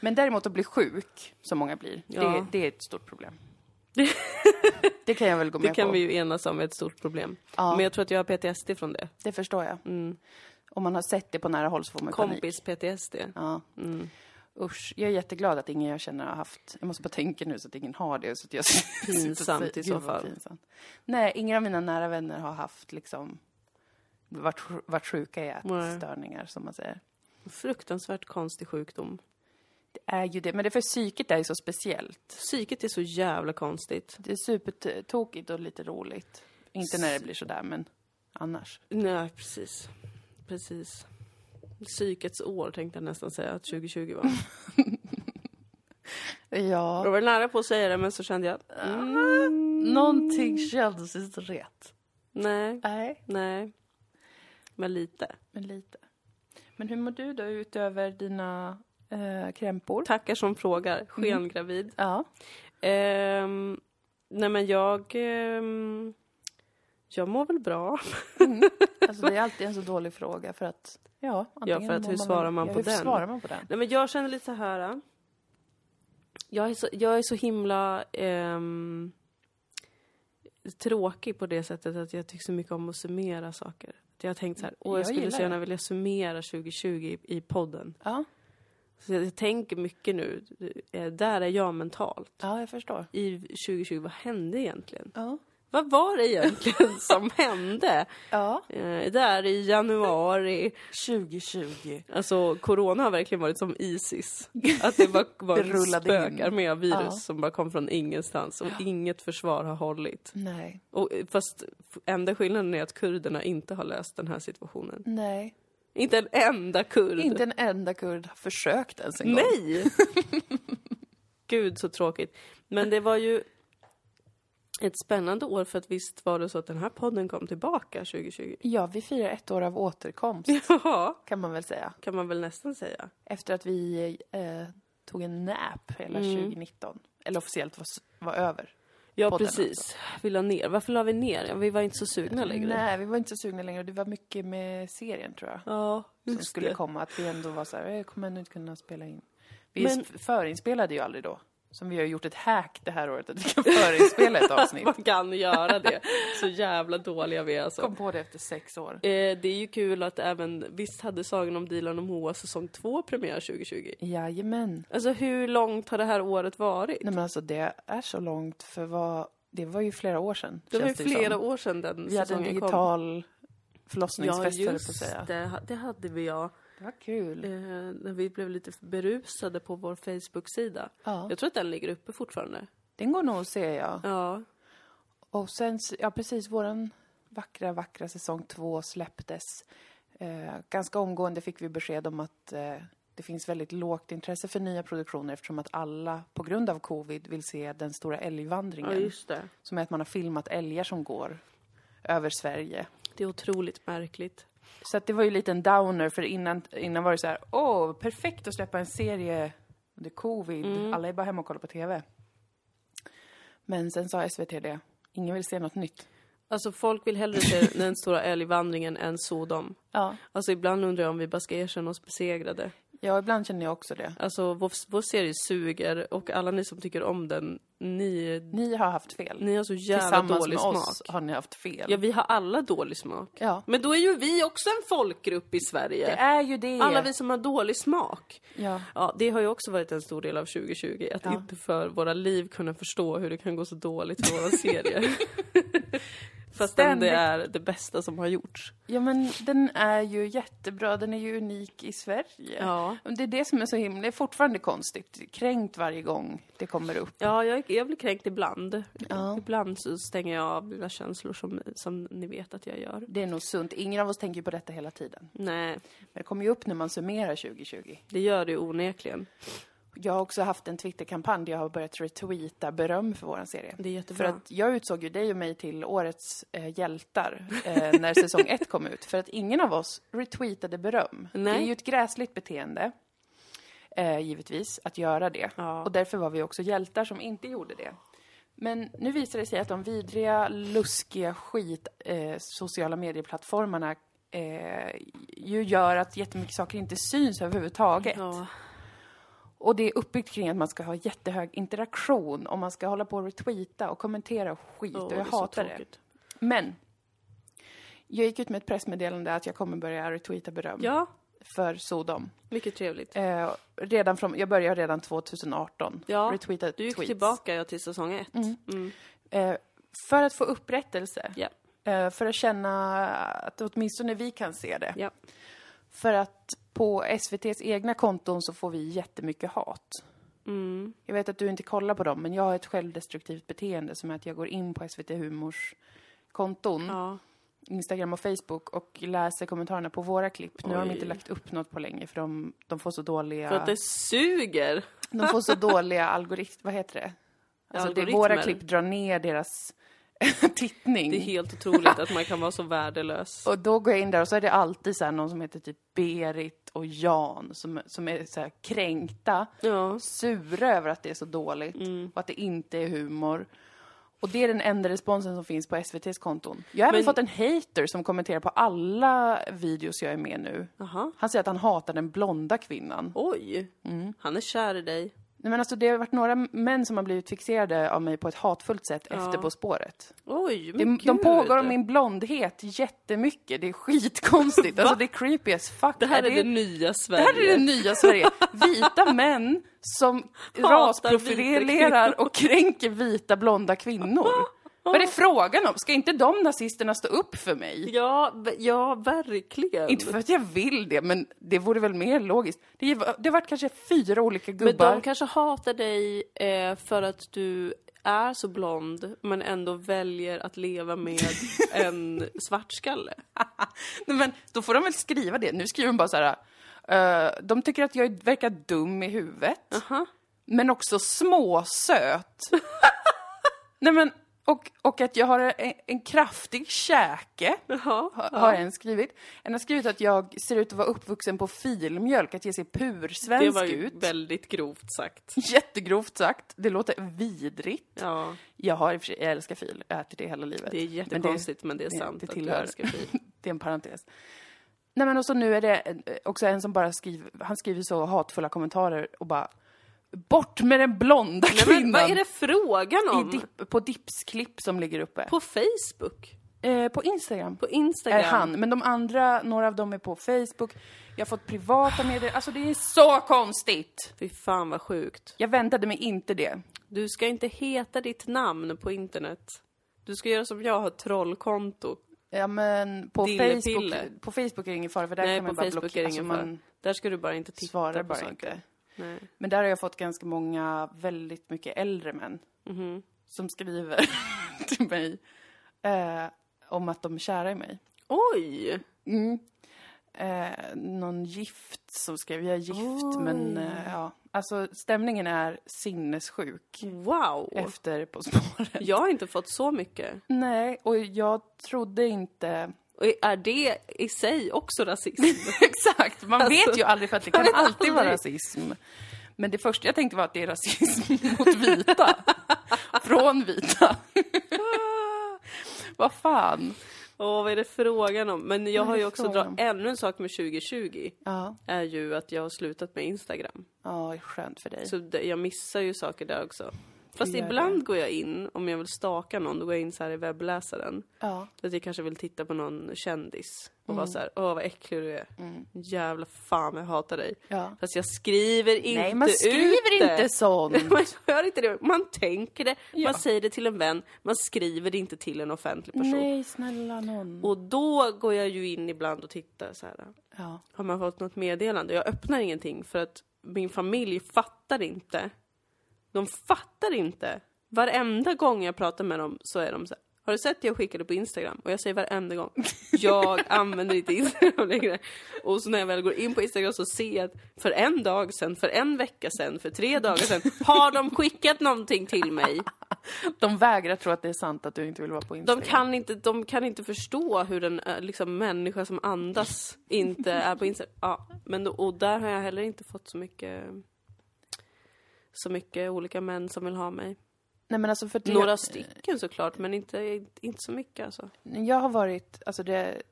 [SPEAKER 2] Men däremot att bli sjuk, som många blir, det,
[SPEAKER 1] Ja.
[SPEAKER 2] det är ett stort problem. det kan jag väl gå
[SPEAKER 1] Det
[SPEAKER 2] med på.
[SPEAKER 1] kan vi ju enas om är ett stort problem.
[SPEAKER 2] Ja.
[SPEAKER 1] Men jag tror att jag har PTSD från det. Mm.
[SPEAKER 2] Det förstår jag. Om man har sett det på nära håll så får man ju panik.
[SPEAKER 1] Kompis-PTSD.
[SPEAKER 2] Ja.
[SPEAKER 1] Mm.
[SPEAKER 2] Usch, jag är jätteglad att ingen jag känner har haft. Jag måste bara tänka nu så att ingen har det. Så att jag
[SPEAKER 1] Pinsamt i så
[SPEAKER 2] Gud, vad
[SPEAKER 1] fall.
[SPEAKER 2] pinsamt. Nej, ingen av mina nära vänner har haft liksom varit, sj- varit sjuka i
[SPEAKER 1] Nej.
[SPEAKER 2] ätstörningar som man säger.
[SPEAKER 1] Fruktansvärt konstig sjukdom.
[SPEAKER 2] Det är ju det, men det är för psyket är ju så speciellt.
[SPEAKER 1] Psyket är så jävla konstigt.
[SPEAKER 2] Det är supertokigt och lite roligt. Inte när det blir sådär, men annars.
[SPEAKER 1] Nej, precis. Precis. Psykets år tänkte jag nästan säga att 2020 var.
[SPEAKER 2] Ja,
[SPEAKER 1] Jag var nära på att säga det men så kände jag, mm,
[SPEAKER 2] någonting kändes inte rätt.
[SPEAKER 1] nej,
[SPEAKER 2] Nej.
[SPEAKER 1] nej. Men lite.
[SPEAKER 2] Men lite. Men hur mår du då utöver dina eh, krämpor?
[SPEAKER 1] Tackar som
[SPEAKER 2] Mm.
[SPEAKER 1] frågar. Skengravid.
[SPEAKER 2] Ja.
[SPEAKER 1] Ehm, nej men jag, ehm, jag mår väl bra.
[SPEAKER 2] Alltså det är alltid en så dålig fråga för att... Ja, antingen
[SPEAKER 1] för att
[SPEAKER 2] mår
[SPEAKER 1] hur
[SPEAKER 2] väl-
[SPEAKER 1] svarar man
[SPEAKER 2] ja,
[SPEAKER 1] på
[SPEAKER 2] hur
[SPEAKER 1] den?
[SPEAKER 2] svarar man på den?
[SPEAKER 1] Nej men jag känner lite så här. äh, Jag är så, jag är så himla ehm, tråkig på det sättet att jag tycker så mycket om att summera saker. Att Jag har tänkt så här, åh jag,
[SPEAKER 2] Jag
[SPEAKER 1] skulle
[SPEAKER 2] gillar
[SPEAKER 1] så gärna
[SPEAKER 2] det."
[SPEAKER 1] vilja summera 2020 i, i podden.
[SPEAKER 2] Ja.
[SPEAKER 1] Så jag, jag tänker mycket nu, eh, där är jag mentalt.
[SPEAKER 2] ja, jag förstår.
[SPEAKER 1] I 2020, vad hände egentligen?
[SPEAKER 2] Ja.
[SPEAKER 1] Vad var det egentligen som hände?
[SPEAKER 2] ja.
[SPEAKER 1] Eh, där i januari.
[SPEAKER 2] 2020.
[SPEAKER 1] Alltså corona har verkligen varit som Isis. Att det bara var
[SPEAKER 2] Det rullade in.
[SPEAKER 1] spökar med virus
[SPEAKER 2] Ja.
[SPEAKER 1] som bara kom från ingenstans och inget försvar har hållit.
[SPEAKER 2] Nej.
[SPEAKER 1] Och, eh, fast f- enda skillnaden är att kurderna inte har löst den här situationen.
[SPEAKER 2] Nej.
[SPEAKER 1] Inte en enda kurd.
[SPEAKER 2] Inte en enda kurd har försökt ens en gång.
[SPEAKER 1] Nej! Gud så tråkigt. Men det var ju ett spännande år för att visst var det så att den här podden kom tillbaka 2020?
[SPEAKER 2] Ja, vi firar ett år av återkomst
[SPEAKER 1] Ja,
[SPEAKER 2] kan man väl säga.
[SPEAKER 1] kan man väl nästan säga.
[SPEAKER 2] Efter att vi eh, tog en nap hela
[SPEAKER 1] Mm.
[SPEAKER 2] 2019. Eller officiellt var, s- var över.
[SPEAKER 1] Ja,
[SPEAKER 2] podden alltså.
[SPEAKER 1] precis. Vill ha ner. Varför la vi ner? Ja, Vi var inte så sugna längre.
[SPEAKER 2] Nej, vi var inte så sugna längre och det var mycket med serien tror jag.
[SPEAKER 1] Ja,
[SPEAKER 2] som
[SPEAKER 1] just
[SPEAKER 2] skulle
[SPEAKER 1] det.
[SPEAKER 2] komma. Att vi ändå var så här, "Eh, kommer ändå inte kunna spela in. Vi
[SPEAKER 1] Men-
[SPEAKER 2] s- förinspelade ju aldrig då. Som vi har gjort ett hack det här året, att vi kan förinspela ett avsnitt.
[SPEAKER 1] Man kan göra det. Så jävla dåliga vi är alltså.
[SPEAKER 2] kom på det efter sex år.
[SPEAKER 1] Eh, det är ju kul att även, visst hade Sagan om Dilan och Moa säsong 2 premiär 2020?
[SPEAKER 2] Jajamän.
[SPEAKER 1] Alltså hur långt har det här året varit?
[SPEAKER 2] Nej men alltså det är så långt, för vad, det var ju flera år sedan.
[SPEAKER 1] Det var ju
[SPEAKER 2] känns ju
[SPEAKER 1] flera
[SPEAKER 2] som.
[SPEAKER 1] år sedan den
[SPEAKER 2] Vi hade
[SPEAKER 1] säsongen
[SPEAKER 2] en
[SPEAKER 1] kom.
[SPEAKER 2] digital
[SPEAKER 1] Ja,
[SPEAKER 2] förlossningsfest höll jag på att
[SPEAKER 1] just
[SPEAKER 2] säga. Det.
[SPEAKER 1] det. Det hade vi ja.
[SPEAKER 2] var kul.
[SPEAKER 1] Eh, när vi blev lite berusade på vår Facebook-sida.
[SPEAKER 2] Ja.
[SPEAKER 1] Jag tror att den ligger uppe fortfarande.
[SPEAKER 2] Den går nog att se ja.
[SPEAKER 1] Ja.
[SPEAKER 2] Och sen, s- ja precis, våran vackra, vackra säsong två släpptes. Eh, ganska omgående fick vi besked om att eh, det finns väldigt lågt intresse för nya produktioner eftersom att alla, på grund av covid, vill se den stora
[SPEAKER 1] ja,
[SPEAKER 2] älgvandringen.
[SPEAKER 1] just det.
[SPEAKER 2] som är att man har filmat älgar som går över Sverige.
[SPEAKER 1] Det är otroligt märkligt.
[SPEAKER 2] Så att det var ju lite en downer, för innan, innan var det så här, åh, perfekt att släppa en serie under covid.
[SPEAKER 1] Mm.
[SPEAKER 2] Alla är bara hemma och kollar på TV. Men sen sa SVT det, ingen vill se något nytt.
[SPEAKER 1] Alltså folk vill hellre se den stora älgvandringen än Sodom.
[SPEAKER 2] Ja.
[SPEAKER 1] Alltså ibland undrar jag om vi bara ska erkänna oss besegrade.
[SPEAKER 2] Ja, ibland känner jag också det.
[SPEAKER 1] Alltså vår, vår serie suger och alla ni som tycker om den, ni,
[SPEAKER 2] Ni har haft fel.
[SPEAKER 1] ni har så jävla
[SPEAKER 2] Tillsammans
[SPEAKER 1] dålig
[SPEAKER 2] med
[SPEAKER 1] smak.
[SPEAKER 2] oss har ni haft fel.
[SPEAKER 1] Ja, vi har alla dålig smak.
[SPEAKER 2] Ja.
[SPEAKER 1] Men då är ju vi också en folkgrupp i
[SPEAKER 2] Det
[SPEAKER 1] Sverige.
[SPEAKER 2] är ju det.
[SPEAKER 1] Alla vi som har dålig smak.
[SPEAKER 2] Ja.
[SPEAKER 1] Ja, det har ju också varit en stor del av 2020. Att
[SPEAKER 2] Ja.
[SPEAKER 1] inte för våra liv kunna förstå hur det kan gå så dåligt för våra serier. Fastän det
[SPEAKER 2] Ständigt.
[SPEAKER 1] är det bästa som har gjorts.
[SPEAKER 2] ja, men den är ju jättebra. Den är ju unik i Sverige.
[SPEAKER 1] Ja.
[SPEAKER 2] Och Det är det som är så himla, det är fortfarande konstigt. Kränkt varje gång det kommer upp.
[SPEAKER 1] Ja, jag, jag blir kränkt ibland.
[SPEAKER 2] Ja.
[SPEAKER 1] Ibland så stänger jag av mina känslor som, som ni vet att jag gör.
[SPEAKER 2] Det är nog sunt. Ingen av oss tänker ju på detta hela tiden.
[SPEAKER 1] Nej,
[SPEAKER 2] Men det kommer ju upp när man summerar 2020.
[SPEAKER 1] det gör det ju onekligen.
[SPEAKER 2] Jag har också haft en Twitterkampanj där jag har börjat retweeta beröm för våran serie.
[SPEAKER 1] Det är jättebra.
[SPEAKER 2] För att jag utsåg ju dig och mig till årets eh, hjältar eh, när säsong ett kom ut. För att ingen av oss retweetade beröm.
[SPEAKER 1] Nej.
[SPEAKER 2] Det är ju ett gräsligt beteende, eh, givetvis, att göra det.
[SPEAKER 1] Ja.
[SPEAKER 2] Och därför var vi också hjältar som inte gjorde det. Men nu visar det sig att de vidriga, luskiga skit eh, sociala medieplattformarna eh, ju gör att jättemycket saker inte syns överhuvudtaget.
[SPEAKER 1] Ja.
[SPEAKER 2] Och det är uppbyggt kring att man ska ha jättehög interaktion och man ska hålla på och retweeta och kommentera och skit
[SPEAKER 1] Åh,
[SPEAKER 2] och
[SPEAKER 1] det är
[SPEAKER 2] jag
[SPEAKER 1] så
[SPEAKER 2] hatar det.
[SPEAKER 1] tråkigt.
[SPEAKER 2] Men, jag gick ut med ett pressmeddelande att jag kommer börja retweeta beröm
[SPEAKER 1] Ja,
[SPEAKER 2] för Sodom.
[SPEAKER 1] mycket trevligt.
[SPEAKER 2] Eh, redan från, jag började redan 2018.
[SPEAKER 1] Ja,
[SPEAKER 2] retweeta
[SPEAKER 1] Du gick
[SPEAKER 2] tweets.
[SPEAKER 1] tillbaka ja, till säsong ett. Mm.
[SPEAKER 2] Eh, för att få upprättelse.
[SPEAKER 1] Ja,
[SPEAKER 2] Eh, för att känna att åtminstone vi kan se det.
[SPEAKER 1] ja.
[SPEAKER 2] För att på SVTs egna konton så får vi jättemycket hat.
[SPEAKER 1] Mm.
[SPEAKER 2] Jag vet att du inte kollar på dem, men jag har ett självdestruktivt beteende som är att jag går in på SVT Humors konton,
[SPEAKER 1] ja.
[SPEAKER 2] Instagram och Facebook och läser kommentarerna på våra klipp. Nu har de
[SPEAKER 1] Oj.
[SPEAKER 2] inte lagt upp något på länge för de, de får så dåliga...
[SPEAKER 1] För att det suger!
[SPEAKER 2] De får så dåliga algoritmer... Vad heter det? Alltså det,
[SPEAKER 1] Algoritmer.
[SPEAKER 2] våra klipp drar ner deras tittning.
[SPEAKER 1] Det är helt otroligt att man kan vara så värdelös.
[SPEAKER 2] Och då går jag in där och så är det alltid så här någon som heter typ Berit och Jan som, som är så här kränkta,
[SPEAKER 1] Ja.
[SPEAKER 2] sura över att det är så dåligt och att det inte är humor. Och det är den enda responsen som finns på SVTs konton. Jag har även
[SPEAKER 1] Men-
[SPEAKER 2] fått en hater som kommenterar på alla videos jag är med nu.
[SPEAKER 1] Aha.
[SPEAKER 2] Han säger att han hatar den blonda kvinnan.
[SPEAKER 1] Oj!
[SPEAKER 2] Mm.
[SPEAKER 1] Han är kär i dig.
[SPEAKER 2] Nej, men alltså, det har varit några män som har blivit fixerade av mig på ett hatfullt sätt efter På spåret.
[SPEAKER 1] Oj,
[SPEAKER 2] Det,
[SPEAKER 1] men
[SPEAKER 2] de
[SPEAKER 1] gud.
[SPEAKER 2] pågår om min blondhet jättemycket. Det är skitkonstigt. alltså det är creepy as fuck.
[SPEAKER 1] Det här är
[SPEAKER 2] det,
[SPEAKER 1] det nya
[SPEAKER 2] det
[SPEAKER 1] Sverige.
[SPEAKER 2] här är det nya Sverige. Vita män som
[SPEAKER 1] vita
[SPEAKER 2] rasprofilerar och kränker vita blonda kvinnor. Vad är det frågan om? Ska inte de nazisterna stå upp för mig?
[SPEAKER 1] Ja, v- ja, verkligen.
[SPEAKER 2] Inte för att jag vill det, men det vore väl mer logiskt. Det, det har varit kanske fyra olika
[SPEAKER 1] men
[SPEAKER 2] gubbar.
[SPEAKER 1] de kanske hatar dig eh, för att du är så blond men ändå väljer att leva med en svartskalle.
[SPEAKER 2] Nej, men då får de väl skriva det. Nu skriver de bara så här. eh, de tycker att jag verkar dum i huvudet. Men också småsöt. Nej men, Och, och att jag har en, en kraftig käke,
[SPEAKER 1] Jaha.
[SPEAKER 2] ha- har en skrivit. En har skrivit att jag ser ut att vara uppvuxen på filmjölk, att jag ser
[SPEAKER 1] Det
[SPEAKER 2] pursvensk
[SPEAKER 1] var ju
[SPEAKER 2] ut.
[SPEAKER 1] väldigt grovt sagt.
[SPEAKER 2] Jättegrovt sagt. Det låter vidrigt.
[SPEAKER 1] Ja,
[SPEAKER 2] Jag har i och för sig, jag älskar fil, jag äter det hela livet.
[SPEAKER 1] det är jättekonstigt men det är
[SPEAKER 2] det-
[SPEAKER 1] sant
[SPEAKER 2] det
[SPEAKER 1] att
[SPEAKER 2] tillhör-
[SPEAKER 1] du älskar fil.
[SPEAKER 2] Det är en parentes. Nej men och så nu är det en- också en som bara skriver, han skriver så hatfulla kommentarer och bara Bort med den blonda
[SPEAKER 1] Nej,
[SPEAKER 2] kvinnan!
[SPEAKER 1] men vad är det frågan om?
[SPEAKER 2] I dip, på Dipsklipp som ligger uppe.
[SPEAKER 1] På
[SPEAKER 2] På,
[SPEAKER 1] Facebook?
[SPEAKER 2] eh, på Instagram.
[SPEAKER 1] På Instagram?
[SPEAKER 2] är han, men de andra, några av dem är på Facebook. Jag har fått privata medier, alltså det är så konstigt!
[SPEAKER 1] Fy fan vad sjukt.
[SPEAKER 2] Jag väntade mig inte det.
[SPEAKER 1] Du ska inte heta ditt namn på internet. Du ska göra som jag, ha ett trollkonto.
[SPEAKER 2] Ja men på
[SPEAKER 1] Dillepille.
[SPEAKER 2] Facebook, på Facebook är det ingen fara för där
[SPEAKER 1] Nej,
[SPEAKER 2] kan man
[SPEAKER 1] på
[SPEAKER 2] bara
[SPEAKER 1] Facebook är
[SPEAKER 2] blockera.
[SPEAKER 1] det
[SPEAKER 2] Alltså,
[SPEAKER 1] ingen fara.
[SPEAKER 2] man
[SPEAKER 1] Där ska du bara inte titta
[SPEAKER 2] svarar
[SPEAKER 1] på
[SPEAKER 2] bara
[SPEAKER 1] saker.
[SPEAKER 2] inte.
[SPEAKER 1] Nej.
[SPEAKER 2] Men där har jag fått ganska många, väldigt mycket äldre män
[SPEAKER 1] Mhm.
[SPEAKER 2] som skriver till mig eh, om att de är kära i mig.
[SPEAKER 1] Oj!
[SPEAKER 2] Eh, någon gift som skrev, jag är gift men eh, ja. Alltså stämningen är sinnessjuk
[SPEAKER 1] Wow!
[SPEAKER 2] efter På spåret.
[SPEAKER 1] Jag har inte fått så mycket.
[SPEAKER 2] Nej, och jag trodde inte...
[SPEAKER 1] Och är det i sig också rasism?
[SPEAKER 2] Exakt, man Alltså, vet ju aldrig för att det kan
[SPEAKER 1] vet
[SPEAKER 2] alltid vara
[SPEAKER 1] aldrig.
[SPEAKER 2] rasism. Men det första jag tänkte var att det är rasism mot vita. Från vita. Vad fan.
[SPEAKER 1] Åh, vad är det frågan om? Men jag har
[SPEAKER 2] det
[SPEAKER 1] ju
[SPEAKER 2] är
[SPEAKER 1] också
[SPEAKER 2] frågan
[SPEAKER 1] dra-
[SPEAKER 2] om?
[SPEAKER 1] ännu en sak med 2020
[SPEAKER 2] Ja,
[SPEAKER 1] är ju att jag har slutat med Instagram.
[SPEAKER 2] ja det är skönt för dig.
[SPEAKER 1] Så det, jag missar ju saker där också. Fast
[SPEAKER 2] Du gör
[SPEAKER 1] ibland går jag in, om jag vill staka någon, då går jag in så här i webbläsaren.
[SPEAKER 2] Ja.
[SPEAKER 1] Så att jag kanske vill titta på någon kändis och vara
[SPEAKER 2] Mm.
[SPEAKER 1] så här, åh vad äcklig du är. Jävla fan jag hatar dig.
[SPEAKER 2] Ja.
[SPEAKER 1] Fast jag skriver inte
[SPEAKER 2] Nej, man
[SPEAKER 1] ut
[SPEAKER 2] skriver
[SPEAKER 1] det.
[SPEAKER 2] inte sånt.
[SPEAKER 1] Man gör inte det. Man tänker det,
[SPEAKER 2] Ja.
[SPEAKER 1] man säger det till en vän, man skriver det inte till en offentlig person.
[SPEAKER 2] Nej, snälla någon.
[SPEAKER 1] Och då går jag ju in ibland och tittar så här.
[SPEAKER 2] Ja.
[SPEAKER 1] Har man fått något meddelande? Jag öppnar ingenting för att min familj fattar inte. De fattar inte. Varenda gång jag pratar med dem så är de så här. Har du sett det jag skickade på Instagram? Och jag säger varenda gång. Jag använder inte Instagram längre. Och så när jag väl går in på Instagram så ser jag att för en dag sedan, för en vecka sedan, för tre dagar sedan har de skickat någonting till mig.
[SPEAKER 2] De vägrar tro att det är sant att du inte vill vara på Instagram.
[SPEAKER 1] De kan inte, de kan inte förstå hur en eh, liksom, människa som andas inte är på Instagram. Ja, men, då- och där har jag heller inte fått så mycket så mycket olika män som vill ha mig.
[SPEAKER 2] Nej, men alltså för det...
[SPEAKER 1] Några stycken såklart, men inte, inte så mycket alltså.
[SPEAKER 2] Jag har varit, alltså det...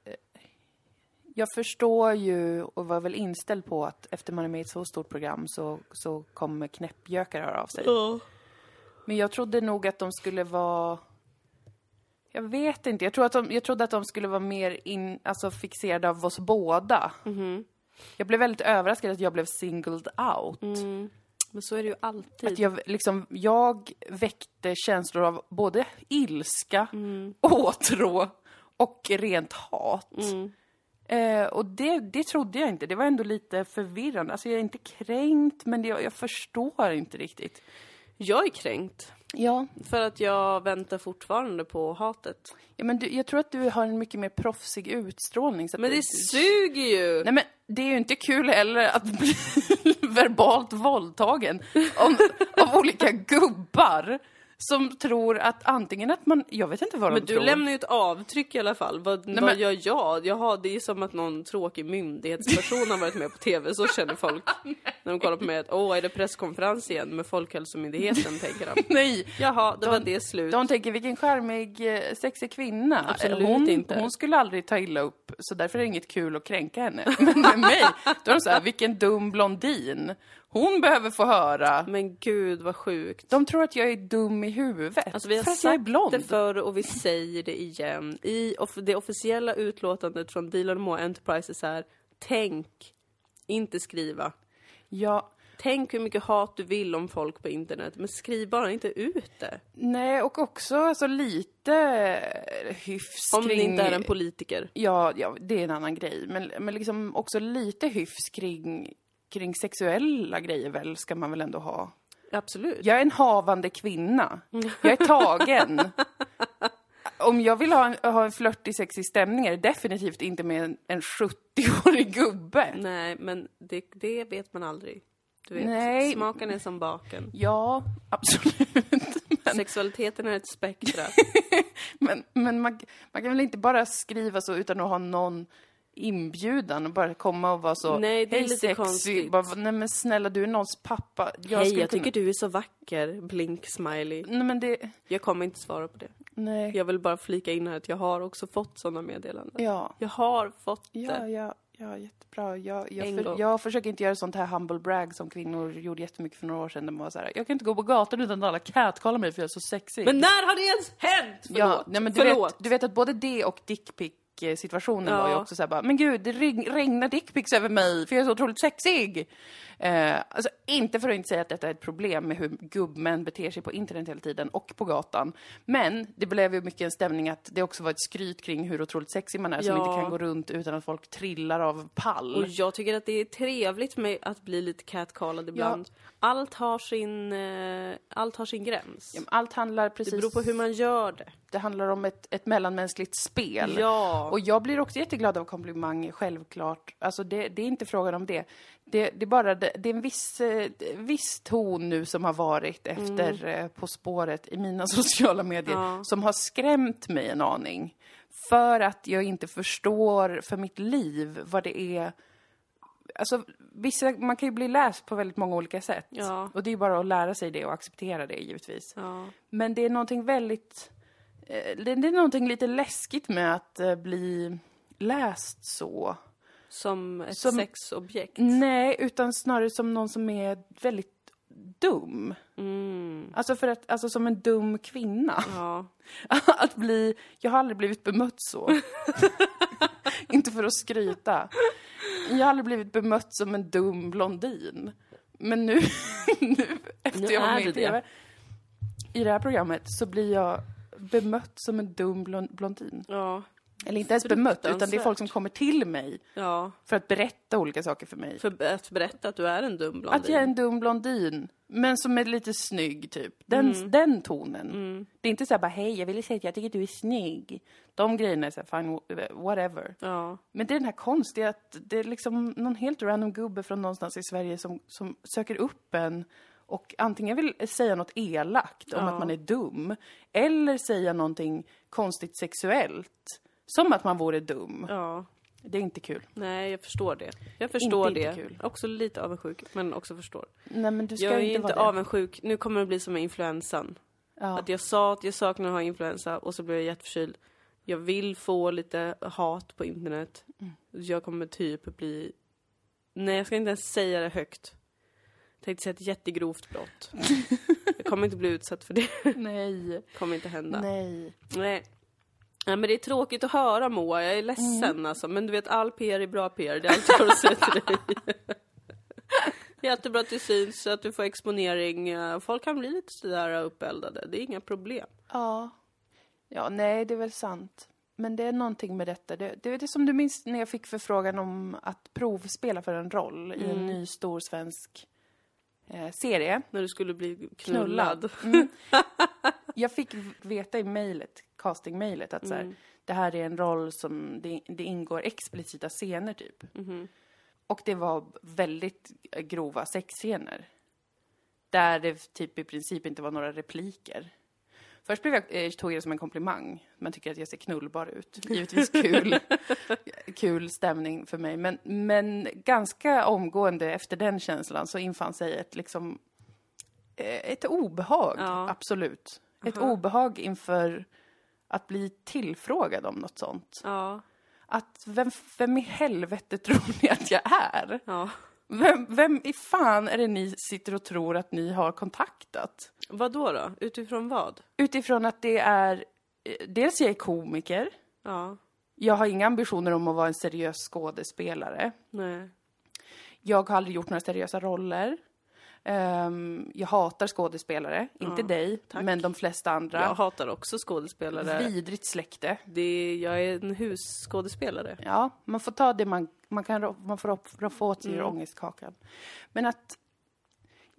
[SPEAKER 2] Jag förstår ju och var väl inställd på att efter man är med i ett så stort program så, så kommer knäppjökar höra av sig. Men jag trodde nog att de skulle vara... Jag vet inte. Jag, tror att de, jag trodde att de skulle vara mer in, alltså fixerade av oss båda. Jag blev väldigt överraskad att jag blev singled out.
[SPEAKER 1] Men så är det ju
[SPEAKER 2] Att
[SPEAKER 1] alltid.
[SPEAKER 2] jag, liksom, jag väckte känslor av både ilska,
[SPEAKER 1] Mm.
[SPEAKER 2] åtrå och rent hat.
[SPEAKER 1] Mm.
[SPEAKER 2] Eh, och det, det trodde jag inte. Det var ändå lite förvirrande. Alltså jag är inte kränkt, men det, jag, jag förstår inte riktigt.
[SPEAKER 1] Jag är kränkt.
[SPEAKER 2] Ja,
[SPEAKER 1] För att jag väntar fortfarande på hatet.
[SPEAKER 2] Ja, men du, jag tror att du har en mycket mer proffsig utstrålning. Så att
[SPEAKER 1] Men det suger ju!
[SPEAKER 2] Nej men det är ju inte kul heller att bli verbalt våldtagen av, av olika gubbar som tror att antingen att man, jag vet inte vad
[SPEAKER 1] Men
[SPEAKER 2] de
[SPEAKER 1] du
[SPEAKER 2] tror.
[SPEAKER 1] lämnar ju ett avtryck i alla fall. Vad, vad
[SPEAKER 2] men-
[SPEAKER 1] gör jag? Jaha, det är som att någon tråkig myndighetsperson har varit med på TV. Så känner folk när de kollar på mig. Att, Åh, är det presskonferens igen med Folkhälsomyndigheten? tänker de.
[SPEAKER 2] Nej,
[SPEAKER 1] Jaha, då var det slut.
[SPEAKER 2] de tänker vilken charmig, eh, sexig kvinna.
[SPEAKER 1] Absolut
[SPEAKER 2] hon,
[SPEAKER 1] inte.
[SPEAKER 2] hon skulle aldrig ta illa upp, så därför är det inget kul att kränka henne. Men med mig, då är de såhär, vilken dum blondin. Hon behöver få höra.
[SPEAKER 1] Men gud vad sjukt.
[SPEAKER 2] De tror att jag är dum i huvudet.
[SPEAKER 1] Alltså vi har
[SPEAKER 2] för att
[SPEAKER 1] sagt
[SPEAKER 2] jag är blond.
[SPEAKER 1] det förr och vi säger det igen. I off- det officiella utlåtandet från Bill Moore Enterprises är Tänk, inte skriva.
[SPEAKER 2] Ja,
[SPEAKER 1] Tänk hur mycket hat du vill om folk på internet, men skriv bara inte ut det.
[SPEAKER 2] nej och också alltså, lite eh, hyfs
[SPEAKER 1] Om det
[SPEAKER 2] kring...
[SPEAKER 1] inte är en politiker.
[SPEAKER 2] ja, ja, det är en annan grej. Men, men liksom också lite hyfs kring, kring sexuella grejer väl, ska man väl ändå ha.
[SPEAKER 1] Absolut.
[SPEAKER 2] Jag är en havande kvinna. Jag är tagen. Om jag vill ha en, ha en flörtig, sexig stämning är det definitivt inte med en, en 70-årig gubbe.
[SPEAKER 1] Nej, men det, det vet man aldrig. Du vet,
[SPEAKER 2] Nej.
[SPEAKER 1] smaken är som baken.
[SPEAKER 2] Ja, absolut. Men,
[SPEAKER 1] Sexualiteten är ett spektra.
[SPEAKER 2] men, men man, man kan väl inte bara skriva så utan att ha någon inbjudan och bara komma och vara så
[SPEAKER 1] Nej, det är
[SPEAKER 2] "Hej,
[SPEAKER 1] lite
[SPEAKER 2] sexy."
[SPEAKER 1] konstigt.
[SPEAKER 2] Bara, Nej men snälla, du är någons pappa. Jag
[SPEAKER 1] Hej,
[SPEAKER 2] skulle
[SPEAKER 1] jag tycker
[SPEAKER 2] kunna...
[SPEAKER 1] du är så vacker. Blink smiley.
[SPEAKER 2] Nej men det...
[SPEAKER 1] Jag kommer inte svara på det.
[SPEAKER 2] Nej.
[SPEAKER 1] Jag vill bara flika in här att jag har också fått sådana meddelanden.
[SPEAKER 2] Ja.
[SPEAKER 1] Jag har fått det.
[SPEAKER 2] Ja, ja, ja, jättebra. Jag, jag,
[SPEAKER 1] En gång.
[SPEAKER 2] för, jag försöker inte göra sånt här humble brag som kvinnor gjorde jättemycket för några år sedan. De var så här, jag kan inte gå på gatan utan att alla catcallar mig för jag är så sexig.
[SPEAKER 1] Men när har det ens hänt? Förlåt.
[SPEAKER 2] ja, nej, men du,
[SPEAKER 1] Förlåt.
[SPEAKER 2] vet, du vet att både det och dickpic situationen var ju
[SPEAKER 1] Ja.
[SPEAKER 2] också såhär bara, men gud det regn- regnar dickpics över mig för jag är så otroligt sexig! Eh, alltså inte för att inte säga att detta är ett problem med hur gubbmän beter sig på internet hela tiden och på gatan. Men det blev ju mycket en stämning att det också var ett skryt kring hur otroligt sexig man är som
[SPEAKER 1] Ja.
[SPEAKER 2] inte kan gå runt utan att folk trillar av pall.
[SPEAKER 1] Och jag tycker att det är trevligt med att bli lite catcallad ibland. Allt, har sin, eh, allt har sin gräns.
[SPEAKER 2] Ja, men Allt handlar
[SPEAKER 1] det
[SPEAKER 2] precis...
[SPEAKER 1] beror på hur man gör det.
[SPEAKER 2] Det handlar om ett, ett mellanmänskligt spel.
[SPEAKER 1] Ja.
[SPEAKER 2] Och jag blir också jätteglad av komplimanger, självklart. Alltså det, det är inte frågan om det. Det, det är bara, det, det är en viss, eh, viss ton nu som har varit efter eh, På spåret i mina sociala medier
[SPEAKER 1] Mm. Ja.
[SPEAKER 2] som har skrämt mig en aning. För att jag inte förstår för mitt liv vad det är Alltså, vissa, man kan ju bli läst på väldigt många olika sätt.
[SPEAKER 1] Ja.
[SPEAKER 2] Och det är ju bara att lära sig det och acceptera det givetvis.
[SPEAKER 1] Ja.
[SPEAKER 2] Men det är någonting väldigt... eh, Det det är någonting lite läskigt med att eh, bli läst så.
[SPEAKER 1] Som ett
[SPEAKER 2] Som- Mm.
[SPEAKER 1] sexobjekt.
[SPEAKER 2] Nej, utan snarare som någon som är väldigt dum. Alltså, för att, alltså som en dum kvinna.
[SPEAKER 1] Mm. Ja.
[SPEAKER 2] Att bli... Jag har aldrig blivit bemött så. Inte för att skryta. Jag har aldrig blivit bemött som en dum blondin. Men nu, nu efter
[SPEAKER 1] Nu
[SPEAKER 2] jag var
[SPEAKER 1] är
[SPEAKER 2] med
[SPEAKER 1] du
[SPEAKER 2] i
[SPEAKER 1] det.
[SPEAKER 2] TV, i det här programmet så blir jag bemött som en dum blon- blondin. Alltså,
[SPEAKER 1] Ja.
[SPEAKER 2] Eller inte ens bemött, utan det är
[SPEAKER 1] Fruktansvärt.
[SPEAKER 2] folk som kommer till mig
[SPEAKER 1] Ja.
[SPEAKER 2] för att berätta olika saker för mig.
[SPEAKER 1] För att berätta att du är en dum blondin.
[SPEAKER 2] Att jag är en dum blondin, men som är lite snygg typ. Den,
[SPEAKER 1] Mm.
[SPEAKER 2] den tonen. Det är inte såhär bara hej, jag ville säga att jag tycker att du är snygg. De grejerna är såhär fine, wh- whatever.
[SPEAKER 1] Ja.
[SPEAKER 2] Men det är den här konstiga att det är liksom någon helt random gubbe från någonstans i Sverige som, som söker upp en och antingen vill säga något elakt om att man är dum eller säga någonting konstigt sexuellt. Som att man vore dum.
[SPEAKER 1] Ja.
[SPEAKER 2] Det är inte kul.
[SPEAKER 1] Nej, jag förstår det. Jag förstår
[SPEAKER 2] Inte-
[SPEAKER 1] det.
[SPEAKER 2] inte kul.
[SPEAKER 1] Också lite avundsjuk, men också förstår.
[SPEAKER 2] Nej men du ska
[SPEAKER 1] jag är
[SPEAKER 2] inte
[SPEAKER 1] ju
[SPEAKER 2] vara
[SPEAKER 1] inte
[SPEAKER 2] det.
[SPEAKER 1] avundsjuk. Nu kommer det bli som med influensan.
[SPEAKER 2] Ja.
[SPEAKER 1] Att jag sa att jag saknar att ha influensa och så blev jag jätteförkyld. Jag vill få lite hat på internet. Jag kommer typ bli... Nej, jag ska inte ens säga det högt. Jag tänkte säga ett jättegrovt brott. jag kommer inte bli utsatt för det.
[SPEAKER 2] Nej.
[SPEAKER 1] kommer inte hända. Nej.
[SPEAKER 2] Nej.
[SPEAKER 1] Nej. men det är tråkigt att höra Moa, jag är ledsen alltså. Men du vet, all PR är bra PR. Det är allt jag har att säga till dig. Jättebra att du syns, att du får exponering. Eh, Folk kan bli lite sådär uppeldade, det är inga problem.
[SPEAKER 2] Ja. Ja, nej, det är väl sant. Men det är någonting med detta. Det, det, det är som du minns när jag fick förfrågan om att provspela för en roll i en ny stor svensk eh, serie.
[SPEAKER 1] När du skulle bli knullad.
[SPEAKER 2] Mm. Jag fick v- veta i mejlet, castingmejlet, att så
[SPEAKER 1] Mm.
[SPEAKER 2] här, det här är en roll som det, det ingår explicita scener typ.
[SPEAKER 1] Mhm.
[SPEAKER 2] Och det var väldigt grova sexscener. Där det typ i princip inte var några repliker. Först blev jag, eh, tog jag det som en komplimang. Man tycker att jag ser knullbar ut. Givetvis kul, kul stämning för mig. Men, men ganska omgående efter den känslan så infann sig ett, liksom, eh, ett obehag,
[SPEAKER 1] Ja.
[SPEAKER 2] absolut. Ett obehag inför att bli tillfrågad om något sånt.
[SPEAKER 1] Ja,
[SPEAKER 2] Att vem, vem i helvete tror ni att jag är?
[SPEAKER 1] ja.
[SPEAKER 2] Vem, vem i fan är det ni sitter och tror att ni har kontaktat?
[SPEAKER 1] Vad då då? Utifrån vad?
[SPEAKER 2] Utifrån att det är... eh, Dels jag är komiker.
[SPEAKER 1] Ja,
[SPEAKER 2] Jag har inga ambitioner om att vara en seriös skådespelare.
[SPEAKER 1] nej.
[SPEAKER 2] Jag har aldrig gjort några seriösa roller. Ehm, jag hatar skådespelare. Inte dig, men de flesta
[SPEAKER 1] Jag
[SPEAKER 2] andra.
[SPEAKER 1] hatar också skådespelare.
[SPEAKER 2] Vidrigt släkte.
[SPEAKER 1] Det är, jag är en husskådespelare.
[SPEAKER 2] Ja, man får ta det man, man kan. ro- Man får roffa- roffa åt sig ur ångestkakan. Men att...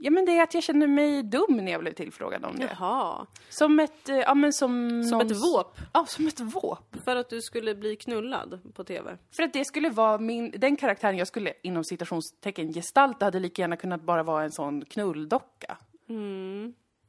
[SPEAKER 2] Ja, men det är att jag känner mig dum när jag blev tillfrågad om det.
[SPEAKER 1] Jaha.
[SPEAKER 2] Som ett... eh, Ja, men som...
[SPEAKER 1] Som ett
[SPEAKER 2] någons-
[SPEAKER 1] våp.
[SPEAKER 2] Ja, som ett våp.
[SPEAKER 1] För att du skulle bli knullad på TV.
[SPEAKER 2] För att det skulle vara min, den karaktären jag skulle inom
[SPEAKER 1] Mm.
[SPEAKER 2] citationstecken gestalta hade lika gärna kunnat bara vara en sån knulldocka.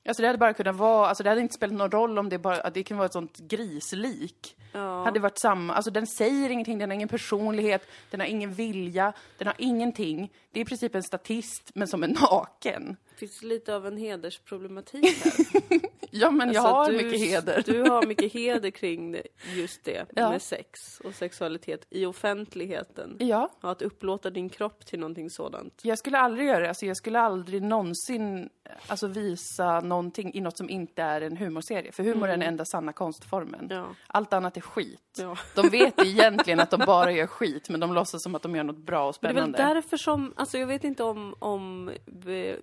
[SPEAKER 2] Alltså det hade bara kunnat vara, alltså det hade inte spelat någon roll om det bara, att det kunde vara ett sånt grislik.
[SPEAKER 1] Ja.
[SPEAKER 2] Hade varit samma, alltså den säger ingenting, den har ingen personlighet, den har ingen vilja, den har ingenting. Det är i princip en statist, men som är naken.
[SPEAKER 1] finns lite av en hedersproblematik här.
[SPEAKER 2] Ja, men jag
[SPEAKER 1] Alltså,
[SPEAKER 2] har
[SPEAKER 1] du-
[SPEAKER 2] mycket heder.
[SPEAKER 1] Du har mycket heder kring just det
[SPEAKER 2] Ja.
[SPEAKER 1] med sex och sexualitet i offentligheten.
[SPEAKER 2] Ja,
[SPEAKER 1] Ja, att upplåta din kropp till någonting sådant.
[SPEAKER 2] jag skulle aldrig göra det, alltså jag skulle aldrig någonsin, alltså visa någonting i något som inte är en humorserie. För humor är den enda sanna konstformen.
[SPEAKER 1] Mm. Ja.
[SPEAKER 2] Allt annat är skit.
[SPEAKER 1] Ja.
[SPEAKER 2] De vet egentligen att de bara gör skit, men de låtsas som att de gör något bra och
[SPEAKER 1] Det är väl
[SPEAKER 2] spännande.
[SPEAKER 1] därför som, alltså jag vet inte om, om eh,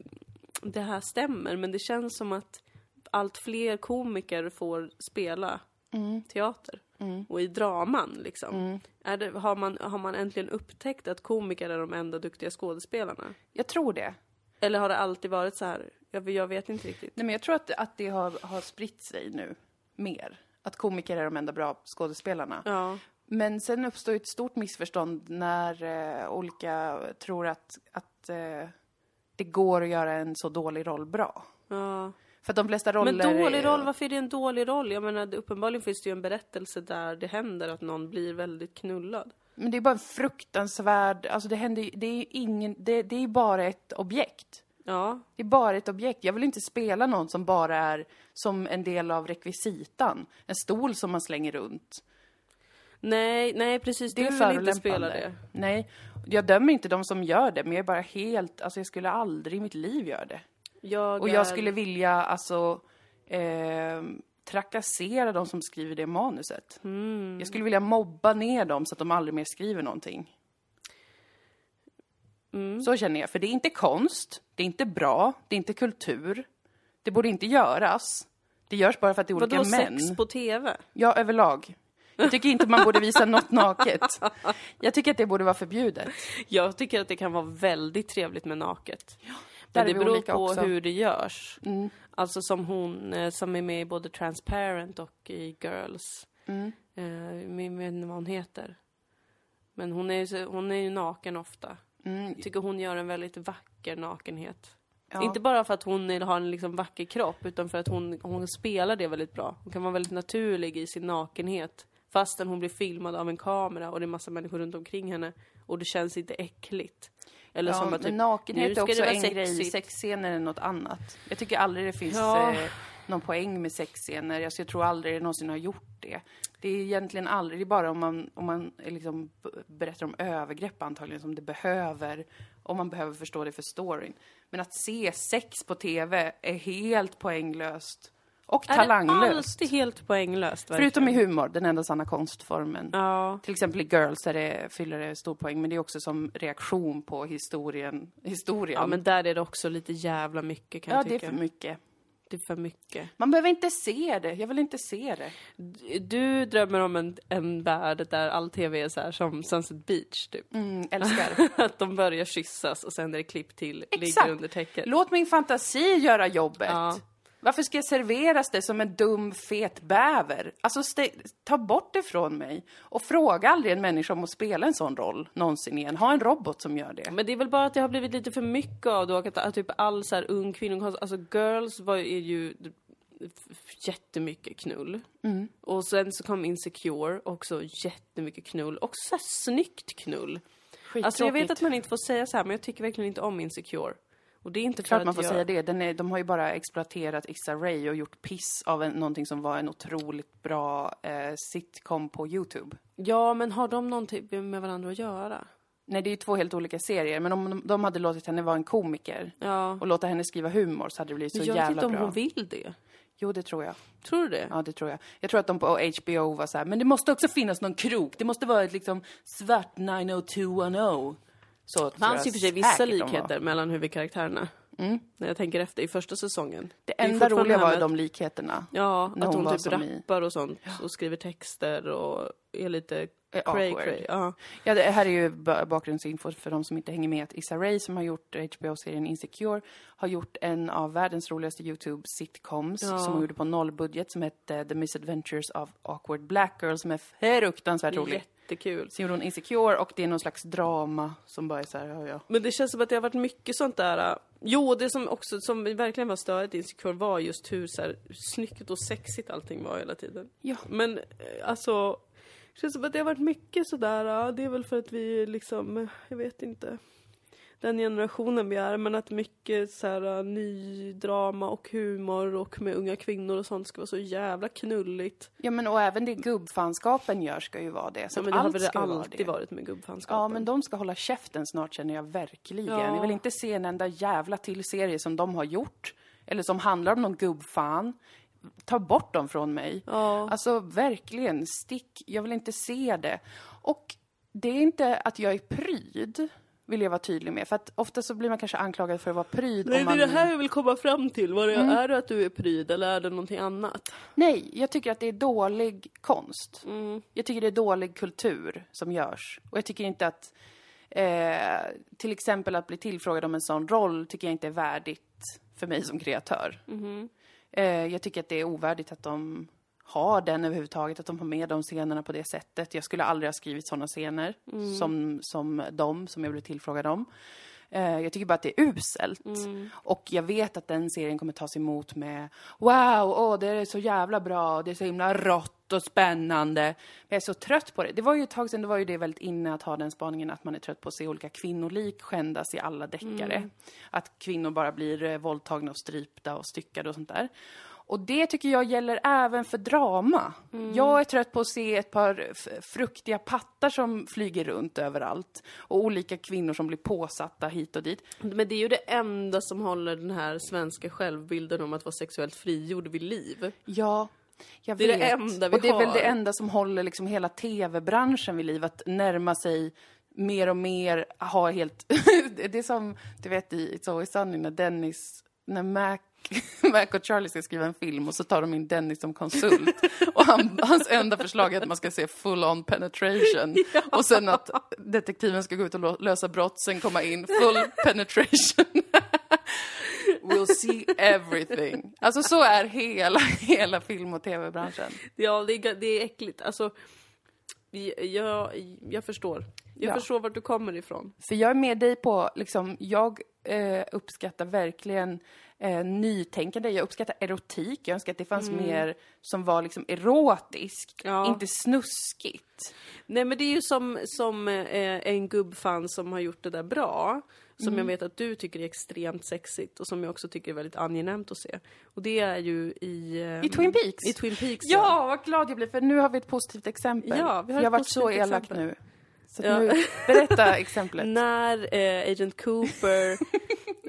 [SPEAKER 1] det här stämmer, men det känns som att allt fler komiker får spela
[SPEAKER 2] Mm.
[SPEAKER 1] teater. Och i draman liksom. Är det, har, man, har man äntligen upptäckt att komiker är de enda duktiga skådespelarna?
[SPEAKER 2] Jag tror det.
[SPEAKER 1] Eller har det alltid varit så här? Jag, jag vet inte riktigt.
[SPEAKER 2] Nej, men jag tror att, att det har, har spritt sig nu mer. Att komiker är de enda bra skådespelarna.
[SPEAKER 1] Ja.
[SPEAKER 2] Men sen uppstår ju ett stort missförstånd när eh, olika tror att, att eh, det går att göra en så dålig roll bra.
[SPEAKER 1] ja.
[SPEAKER 2] För att de flesta roller...
[SPEAKER 1] Men dålig
[SPEAKER 2] är-
[SPEAKER 1] roll, varför är det en dålig roll? Jag menar, det- uppenbarligen finns det ju en berättelse där det händer att någon blir väldigt knullad.
[SPEAKER 2] Men det är bara en fruktansvärd... Alltså det händer ju... Det är ju ingen... Det, det är bara ett objekt.
[SPEAKER 1] Ja,
[SPEAKER 2] Det är bara ett objekt. Jag vill inte spela någon som bara är som en del av rekvisitan. En stol som man slänger runt.
[SPEAKER 1] Nej, nej precis.
[SPEAKER 2] Det
[SPEAKER 1] du
[SPEAKER 2] är
[SPEAKER 1] vill inte
[SPEAKER 2] förolämpande.
[SPEAKER 1] spela det.
[SPEAKER 2] Nej. Jag dömer inte de som gör det, men jag är bara helt... Alltså jag skulle aldrig i mitt liv göra det.
[SPEAKER 1] Jag
[SPEAKER 2] Och
[SPEAKER 1] är-
[SPEAKER 2] jag skulle vilja alltså eh, trakassera de som skriver det manuset.
[SPEAKER 1] Mm.
[SPEAKER 2] Jag skulle vilja mobba ner dem så att de aldrig mer skriver någonting.
[SPEAKER 1] Mm.
[SPEAKER 2] Så känner jag, för det är inte konst, det är inte bra, det är inte kultur. Det borde inte göras. Det görs bara för att det är olika
[SPEAKER 1] Vadå
[SPEAKER 2] män.
[SPEAKER 1] sex på TV?
[SPEAKER 2] Ja, överlag. Jag tycker inte man borde visa något naket. Jag tycker att det borde vara förbjudet.
[SPEAKER 1] Jag tycker att det kan vara väldigt trevligt med naket. Men
[SPEAKER 2] där är
[SPEAKER 1] det
[SPEAKER 2] vi
[SPEAKER 1] beror
[SPEAKER 2] olika
[SPEAKER 1] på
[SPEAKER 2] också.
[SPEAKER 1] hur det görs.
[SPEAKER 2] Mm.
[SPEAKER 1] Alltså som hon eh, som är med i både Transparent och i Girls. Mm. Jag vet inte vad hon heter. Men hon är, ju så- hon är ju naken ofta. Jag tycker hon gör en väldigt vacker nakenhet.
[SPEAKER 2] Ja.
[SPEAKER 1] Inte bara för att hon är- har en liksom vacker kropp, utan för att hon, hon spelar det väldigt bra. Hon kan vara väldigt naturlig i sin nakenhet. Fastän hon blir filmad av en kamera och det är massa människor runt omkring henne. Och det känns inte äckligt. Eller som att
[SPEAKER 2] men
[SPEAKER 1] typ,
[SPEAKER 2] nakenhet är
[SPEAKER 1] nu ska
[SPEAKER 2] också
[SPEAKER 1] det vara
[SPEAKER 2] en grej.
[SPEAKER 1] sexigt.
[SPEAKER 2] Sexscener är något annat. Jag tycker aldrig det finns
[SPEAKER 1] Ja.
[SPEAKER 2] eh, någon poäng med sexscener. Alltså, jag tror aldrig det någonsin har gjort det. Det är egentligen aldrig, det är bara om man, om man eh, liksom b- berättar om övergrepp antagligen som det behöver. Om man behöver förstå det för storyn. Men att se sex på TV är helt poänglöst. Och
[SPEAKER 1] Är det
[SPEAKER 2] talanglöst.
[SPEAKER 1] alltid helt poänglöst? verkligen?
[SPEAKER 2] Förutom i humor, den enda sanna konstformen.
[SPEAKER 1] Ja.
[SPEAKER 2] Till exempel i Girls där det fyller det stor poäng, men det är också som reaktion på historien. historien.
[SPEAKER 1] ja, men där är det också lite jävla mycket kan
[SPEAKER 2] Ja,
[SPEAKER 1] jag
[SPEAKER 2] det är
[SPEAKER 1] tycka.
[SPEAKER 2] för mycket.
[SPEAKER 1] det är för mycket.
[SPEAKER 2] Man behöver inte se det. Jag vill inte se det.
[SPEAKER 1] D- Du drömmer om en, en värld där all TV är så här som Sunset Beach, typ.
[SPEAKER 2] Mm, älskar.
[SPEAKER 1] Att de börjar kyssas och sen är det klipp till,
[SPEAKER 2] Exakt.
[SPEAKER 1] ligger under täcket.
[SPEAKER 2] Låt min fantasi göra jobbet.
[SPEAKER 1] Ja.
[SPEAKER 2] Varför ska jag serveras det som en dum, fet bäver? Alltså, ste- ta bort det från mig. Och fråga aldrig en människa om att spela en sån roll någonsin igen. Ha en robot som gör det.
[SPEAKER 1] Men det är väl bara att det har blivit lite för mycket av det och att, att typ all så här ung kvinnokonst, alltså girls var ju är ju f- jättemycket knull.
[SPEAKER 2] Mm.
[SPEAKER 1] Och sen så kom Insecure, också jättemycket knull. Också så här snyggt knull. Alltså jag vet att man inte får säga så här, men jag tycker verkligen inte om Insecure. Och det är inte för
[SPEAKER 2] Klart
[SPEAKER 1] att
[SPEAKER 2] man får
[SPEAKER 1] jag...
[SPEAKER 2] säga det. Den är, de har ju bara exploaterat Issa Rae och gjort piss av en, någonting som var en otroligt bra eh, sitcom på Youtube.
[SPEAKER 1] Ja, men har de någonting med varandra att göra?
[SPEAKER 2] Nej, det är ju två helt olika serier, men om de, de hade låtit henne vara en komiker
[SPEAKER 1] Ja.
[SPEAKER 2] och låta henne skriva humor så hade det blivit så
[SPEAKER 1] jag vet
[SPEAKER 2] jävla
[SPEAKER 1] inte om
[SPEAKER 2] bra.
[SPEAKER 1] hon vill det.
[SPEAKER 2] Jo, det tror jag.
[SPEAKER 1] Tror du det?
[SPEAKER 2] Ja, det tror jag. Jag tror att de på HBO var så här, men det måste också finnas någon krok. Det måste vara ett liksom svart 90210. Så tror
[SPEAKER 1] Det fanns
[SPEAKER 2] jag
[SPEAKER 1] i och för sig vissa
[SPEAKER 2] säkert de var. Mm.
[SPEAKER 1] likheter mellan huvudkaraktärerna. När jag tänker efter i första säsongen.
[SPEAKER 2] Det
[SPEAKER 1] är
[SPEAKER 2] enda
[SPEAKER 1] fortfarande
[SPEAKER 2] roliga
[SPEAKER 1] det här
[SPEAKER 2] var ju
[SPEAKER 1] med
[SPEAKER 2] de likheterna.
[SPEAKER 1] att- Ja,
[SPEAKER 2] när
[SPEAKER 1] att
[SPEAKER 2] hon
[SPEAKER 1] hon,
[SPEAKER 2] var
[SPEAKER 1] typ
[SPEAKER 2] som i-
[SPEAKER 1] rappar och sånt och skriver texter och är lite
[SPEAKER 2] Är
[SPEAKER 1] cray
[SPEAKER 2] awkward.
[SPEAKER 1] cray. Ja.
[SPEAKER 2] Ja, det här är ju ba- bakgrundsinfo för de som inte hänger med. Att Issa Rae, som har gjort HBO-serien Insecure, har gjort en av världens roligaste YouTube-sitcoms
[SPEAKER 1] Ja.
[SPEAKER 2] som hon gjorde på nollbudget som hette The Misadventures of Awkward Black Girl som är fruktansvärt rolig.
[SPEAKER 1] Jättekul.
[SPEAKER 2] Sen gjorde hon Insecure och det är någon slags drama som bara är så här, ja, ja.
[SPEAKER 1] Men det känns som att det har varit mycket sånt där äh, Jo, det som också som verkligen var störigt i Insecure var just hur så här, snyggt och sexigt allting var hela tiden.
[SPEAKER 2] Ja.
[SPEAKER 1] Men eh, alltså, det känns som att det har varit mycket sådär, ja, det är väl för att vi liksom, eh, jag vet inte, den generationen vi är, men att mycket så här eh, ny drama och humor och med unga kvinnor och sånt ska vara så jävla knulligt.
[SPEAKER 2] Ja, men och även det gubbfanskapen gör ska ju vara det. Så
[SPEAKER 1] Ja,
[SPEAKER 2] att
[SPEAKER 1] men det har
[SPEAKER 2] allt
[SPEAKER 1] väl det
[SPEAKER 2] ska ju vara
[SPEAKER 1] alltid varit med gubbfanskapen.
[SPEAKER 2] Ja, men de ska hålla käften snart känner jag verkligen.
[SPEAKER 1] Ja.
[SPEAKER 2] Jag vill inte se en enda jävla till serie som de har gjort. Eller som handlar om någon gubbfan. Ta bort dem från mig.
[SPEAKER 1] Ja.
[SPEAKER 2] Alltså verkligen, stick. Jag vill inte se det. Och det är inte att jag är pryd, vill jag vara tydlig med. För att ofta så blir man kanske anklagad för att vara pryd
[SPEAKER 1] Nej,
[SPEAKER 2] om
[SPEAKER 1] det är
[SPEAKER 2] man...
[SPEAKER 1] det här jag vill komma fram till. Vad det, Är det att du är pryd eller är det någonting annat?
[SPEAKER 2] Nej, jag tycker att det är dålig konst. Jag tycker det är dålig kultur som görs. Och jag tycker inte att... Eh, till exempel att bli tillfrågad om en sån roll tycker jag inte är värdigt för mig som kreatör. Eh, jag tycker att det är ovärdigt att de har den överhuvudtaget, att de har med de scenerna på det sättet. Jag skulle aldrig ha skrivit såna scener som, som de som jag blev tillfrågad om. Eh, jag tycker bara att det är uselt. Och jag vet att den serien kommer tas emot med Wow, åh, det är så jävla bra, det är så himla rått och spännande. Men jag är så trött på det. Det var ju ett tag sedan, det var ju det väldigt inne att ha den spaningen att man är trött på att se olika kvinnolik skändas i alla deckare. Att kvinnor bara blir eh, våldtagna och strypta och styckade och sånt där. Och det tycker jag gäller även för drama. Jag är trött på att se ett par f- fruktiga pattar som flyger runt överallt. Och olika kvinnor som blir påsatta hit och dit.
[SPEAKER 1] Men det är ju det enda som håller den här svenska självbilden om att vara sexuellt frigjord vid liv.
[SPEAKER 2] Ja, jag
[SPEAKER 1] Det är det
[SPEAKER 2] vet.
[SPEAKER 1] enda vi
[SPEAKER 2] och det är väl
[SPEAKER 1] har.
[SPEAKER 2] det enda som håller liksom hela tv-branschen vid liv, att närma sig mer och mer, ha helt... det är som, du vet i It's Always Sunny när Dennis, när Mac Mac och Charlie ska skriva en film och så tar de in Dennis som konsult. Och han, hans enda förslag är att man ska se full-on penetration. Och sen att detektiven ska gå ut och lo- lösa brott, sen komma in full penetration. We'll see everything. Alltså så är hela, hela film och tv-branschen.
[SPEAKER 1] Ja, det är, ga- det är äckligt. Alltså, vi- jag, jag förstår. Jag
[SPEAKER 2] Ja.
[SPEAKER 1] förstår vart du kommer ifrån.
[SPEAKER 2] För jag är med dig på, liksom, jag eh, uppskattar verkligen eh, nytänkande, jag uppskattar erotik, jag önskar att det fanns mer som var liksom erotiskt,
[SPEAKER 1] Ja.
[SPEAKER 2] inte snuskigt.
[SPEAKER 1] Nej men det är ju som, som eh, en gubbfan som har gjort det där bra. Som jag vet att du tycker är extremt sexigt och som jag också tycker är väldigt angenämt att se. Och det är ju i... eh,
[SPEAKER 2] I Twin Peaks?
[SPEAKER 1] I Twin Peaks
[SPEAKER 2] Ja, vad glad jag blir för nu har vi ett positivt exempel.
[SPEAKER 1] Ja, vi har
[SPEAKER 2] jag har
[SPEAKER 1] ett
[SPEAKER 2] varit så
[SPEAKER 1] positivt
[SPEAKER 2] elak
[SPEAKER 1] exempel.
[SPEAKER 2] nu. Så att
[SPEAKER 1] Ja.
[SPEAKER 2] nu, berätta exemplet.
[SPEAKER 1] När eh, Agent Cooper,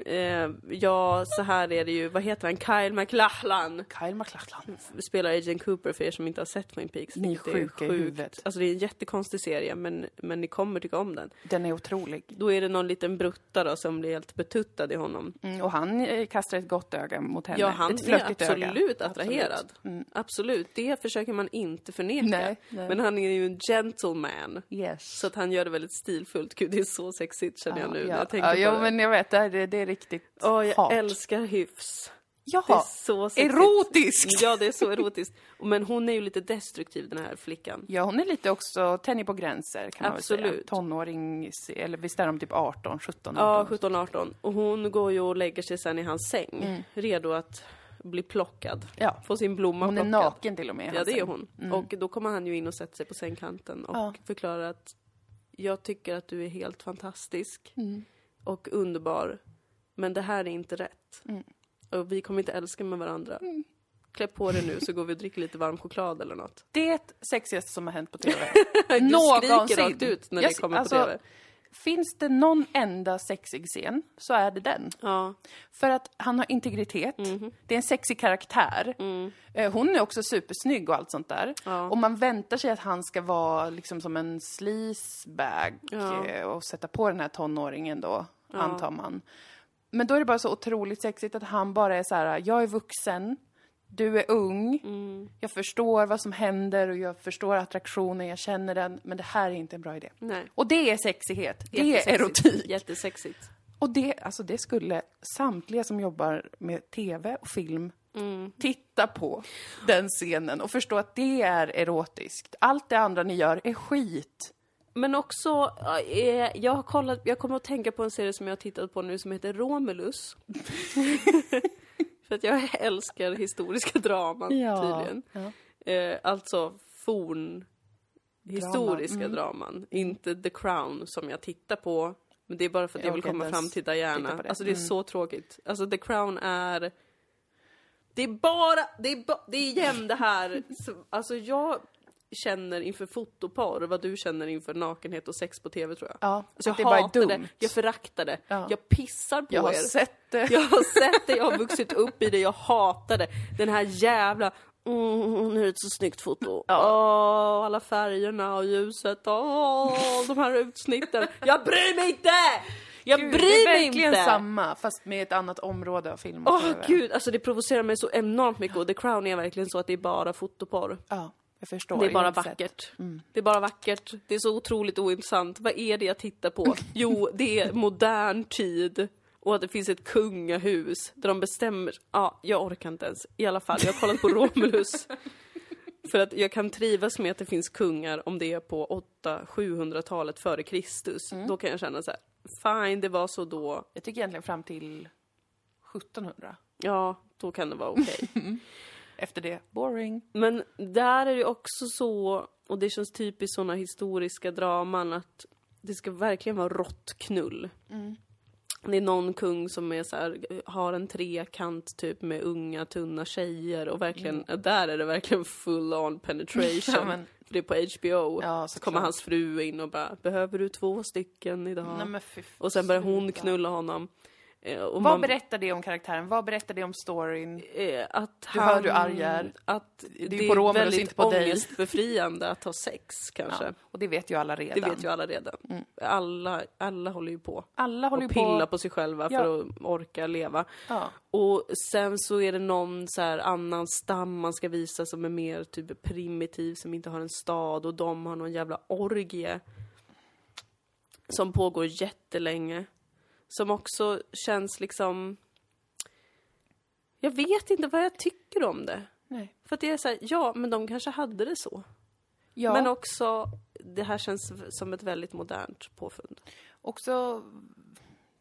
[SPEAKER 1] eh, ja så här är det ju, vad heter han, Kyle MacLachlan
[SPEAKER 2] Kyle MacLachlan.
[SPEAKER 1] spelar Agent Cooper för er som inte har sett Twin Peaks.
[SPEAKER 2] Ni är
[SPEAKER 1] vilket
[SPEAKER 2] sjuka i huvudet.
[SPEAKER 1] Alltså det är en jättekonstig serie men, men ni kommer tycka om den.
[SPEAKER 2] Den är otrolig.
[SPEAKER 1] Då är det någon liten brutta då som blir helt betuttad i honom.
[SPEAKER 2] Mm, och han eh, kastar ett gott öga mot henne.
[SPEAKER 1] Ja, han
[SPEAKER 2] ett
[SPEAKER 1] är
[SPEAKER 2] flörtigt öga. Mm.
[SPEAKER 1] absolut attraherad. Absolut. det försöker man inte förneka.
[SPEAKER 2] Nej, nej.
[SPEAKER 1] Men han är ju en gentleman.
[SPEAKER 2] Yes.
[SPEAKER 1] Så att han gör det väldigt stilfullt. Gud, det är så sexigt känner jag nu
[SPEAKER 2] ja.
[SPEAKER 1] när jag tänker
[SPEAKER 2] ja,
[SPEAKER 1] på
[SPEAKER 2] ja,
[SPEAKER 1] det.
[SPEAKER 2] men jag vet, det, här, det, det är riktigt
[SPEAKER 1] Åh, jag
[SPEAKER 2] hat.
[SPEAKER 1] älskar hyfs. Det är
[SPEAKER 2] Jaha,
[SPEAKER 1] så sexigt.
[SPEAKER 2] erotiskt!
[SPEAKER 1] Ja, det är så erotiskt. Men hon är ju lite destruktiv den här flickan.
[SPEAKER 2] Ja, hon är lite också, tänjer på gränser kan man väl säga.
[SPEAKER 1] Absolut.
[SPEAKER 2] Tonåring, eller visst är de typ 18, 17, 18?
[SPEAKER 1] Ja, 17-18. Och hon går ju och lägger sig sen i hans säng. Redo att bli plockad.
[SPEAKER 2] Mm. Ja.
[SPEAKER 1] Få sin blomma
[SPEAKER 2] Hon är
[SPEAKER 1] plockad.
[SPEAKER 2] naken till och med.
[SPEAKER 1] Ja,
[SPEAKER 2] han
[SPEAKER 1] det är
[SPEAKER 2] säger.
[SPEAKER 1] hon. Och då kommer han ju in och sätter sig på sängkanten och
[SPEAKER 2] Mm. Ja.
[SPEAKER 1] förklarar att jag tycker att du är helt fantastisk
[SPEAKER 2] Mm.
[SPEAKER 1] och underbar, men det här är inte rätt.
[SPEAKER 2] Mm.
[SPEAKER 1] Och vi kommer inte älska med varandra. Klä på dig nu så går vi och dricker lite varm choklad eller något.
[SPEAKER 2] Det sexigaste som har hänt på TV.
[SPEAKER 1] Du
[SPEAKER 2] Någonsin.
[SPEAKER 1] skriker rakt ut när
[SPEAKER 2] Jag
[SPEAKER 1] det
[SPEAKER 2] sk-
[SPEAKER 1] kommer
[SPEAKER 2] alltså-
[SPEAKER 1] på TV.
[SPEAKER 2] Finns det någon enda sexig scen så är det den.
[SPEAKER 1] Ja.
[SPEAKER 2] För att han har integritet,
[SPEAKER 1] Mhm.
[SPEAKER 2] det är en sexig karaktär. Eh, Hon är också supersnygg och allt sånt där.
[SPEAKER 1] Mm. Ja.
[SPEAKER 2] Och man väntar sig att han ska vara liksom som en sleazebag
[SPEAKER 1] Ja.
[SPEAKER 2] eh, och sätta på den här tonåringen då, antar man. Men då är det bara så otroligt sexigt att han bara är så här: jag är vuxen, du är ung,
[SPEAKER 1] Mm.
[SPEAKER 2] jag förstår vad som händer och jag förstår attraktionen, jag känner den, men det här är inte en bra idé.
[SPEAKER 1] Nej.
[SPEAKER 2] Och det är sexighet, det är
[SPEAKER 1] Jättesexigt.
[SPEAKER 2] erotik.
[SPEAKER 1] Jättesexigt.
[SPEAKER 2] Och det, alltså det skulle samtliga som jobbar med tv och film
[SPEAKER 1] Mm.
[SPEAKER 2] titta på den scenen och förstå att det är erotiskt. Allt det andra ni gör är skit.
[SPEAKER 1] Men också, eh, jag, har kollat, jag kommer att tänka på en serie som jag har tittat på nu som heter Romulus. För att jag älskar historiska draman tydligen.
[SPEAKER 2] Ja.
[SPEAKER 1] Eh, alltså forn historiska
[SPEAKER 2] mm.
[SPEAKER 1] draman. Inte The Crown som jag tittar på. Men det är bara för att
[SPEAKER 2] Jag
[SPEAKER 1] jag, vill
[SPEAKER 2] orkar
[SPEAKER 1] komma
[SPEAKER 2] inte
[SPEAKER 1] fram
[SPEAKER 2] ens
[SPEAKER 1] till Diana.
[SPEAKER 2] titta på det.
[SPEAKER 1] Alltså det är
[SPEAKER 2] Mm.
[SPEAKER 1] så tråkigt. Alltså The Crown är... Det är bara, det är, ba, det är igen det här. Så- Alltså jag känner inför fotoporr vad du känner inför nakenhet och sex på TV tror jag.
[SPEAKER 2] Ja,
[SPEAKER 1] Alltså jag
[SPEAKER 2] det är bara
[SPEAKER 1] hatar det,
[SPEAKER 2] dumt.
[SPEAKER 1] jag föraktar det,
[SPEAKER 2] Ja.
[SPEAKER 1] jag pissar på
[SPEAKER 2] Jag har
[SPEAKER 1] er.
[SPEAKER 2] sett det.
[SPEAKER 1] Jag har sett det, jag har vuxit upp i det, jag hatar det. Den här jävla Mm, nu är det ett så snyggt foto. Åh, alla färgerna och ljuset. Åh, de här utsnitten. Jag bryr mig inte! Jag
[SPEAKER 2] Gud,
[SPEAKER 1] bryr
[SPEAKER 2] det är
[SPEAKER 1] mig
[SPEAKER 2] verkligen
[SPEAKER 1] inte!
[SPEAKER 2] samma, fast med ett annat område av film och
[SPEAKER 1] Åh
[SPEAKER 2] TV.
[SPEAKER 1] gud, alltså det provocerar mig så enormt mycket och The Crown är verkligen så att det är bara fotoporr.
[SPEAKER 2] Ja, jag förstår.
[SPEAKER 1] Det är
[SPEAKER 2] Jag har
[SPEAKER 1] bara
[SPEAKER 2] inte sett.
[SPEAKER 1] vackert. Det är bara vackert. Det är så otroligt ointressant. Vad är det jag tittar på? Jo, det är modern tid och att det finns ett kungahus där de bestämmer. Ja, jag orkar inte ens. I alla fall, jag har kollat på Romulus. För att jag kan trivas med att det finns kungar om det är på 800-700-talet före Kristus. Då kan jag känna så här, fine, det var så då.
[SPEAKER 2] Jag tycker egentligen fram till 1700.
[SPEAKER 1] Ja, då kan det vara okej.
[SPEAKER 2] Efter det, boring.
[SPEAKER 1] Men där är det också så, och det känns typiskt sådana historiska draman, att det ska verkligen vara rått knull.
[SPEAKER 2] Mm.
[SPEAKER 1] Det är någon kung som är så här, har en trekant typ med unga tunna tjejer och verkligen, där är det verkligen full on penetration.
[SPEAKER 2] Mm. Ja, men-
[SPEAKER 1] För det är på HBO.
[SPEAKER 2] Ja,
[SPEAKER 1] så kommer
[SPEAKER 2] såklart.
[SPEAKER 1] hans fru in och bara, behöver du två stycken idag?
[SPEAKER 2] Nej, men fy,
[SPEAKER 1] och sen börjar hon
[SPEAKER 2] sluta.
[SPEAKER 1] knulla honom. Eh, Och
[SPEAKER 2] Vad berättar det om karaktären? Vad berättar det om storyn?
[SPEAKER 1] eh, att
[SPEAKER 2] Du
[SPEAKER 1] han...
[SPEAKER 2] hör hur arg jag är.
[SPEAKER 1] Att det,
[SPEAKER 2] är på Romulus, inte på dig.
[SPEAKER 1] ångestbefriande att ha sex kanske.
[SPEAKER 2] Ja, och det vet ju alla redan.
[SPEAKER 1] Det vet ju alla redan. Alla, alla håller ju på.
[SPEAKER 2] Alla håller ju
[SPEAKER 1] och pillar på,
[SPEAKER 2] på...
[SPEAKER 1] sig själva
[SPEAKER 2] Ja.
[SPEAKER 1] för att orka leva.
[SPEAKER 2] Ja.
[SPEAKER 1] Och sen så är det någon så här annan stam man ska visa som är mer typ primitiv, som inte har en stad och de har någon jävla orgie. Som pågår jättelänge. Som också känns liksom... Jag vet inte vad jag tycker om det.
[SPEAKER 2] Nej.
[SPEAKER 1] För att det är såhär, ja men de kanske hade det så.
[SPEAKER 2] Ja,
[SPEAKER 1] Men
[SPEAKER 2] Men
[SPEAKER 1] också, det här känns som ett väldigt modernt påfund.
[SPEAKER 2] också...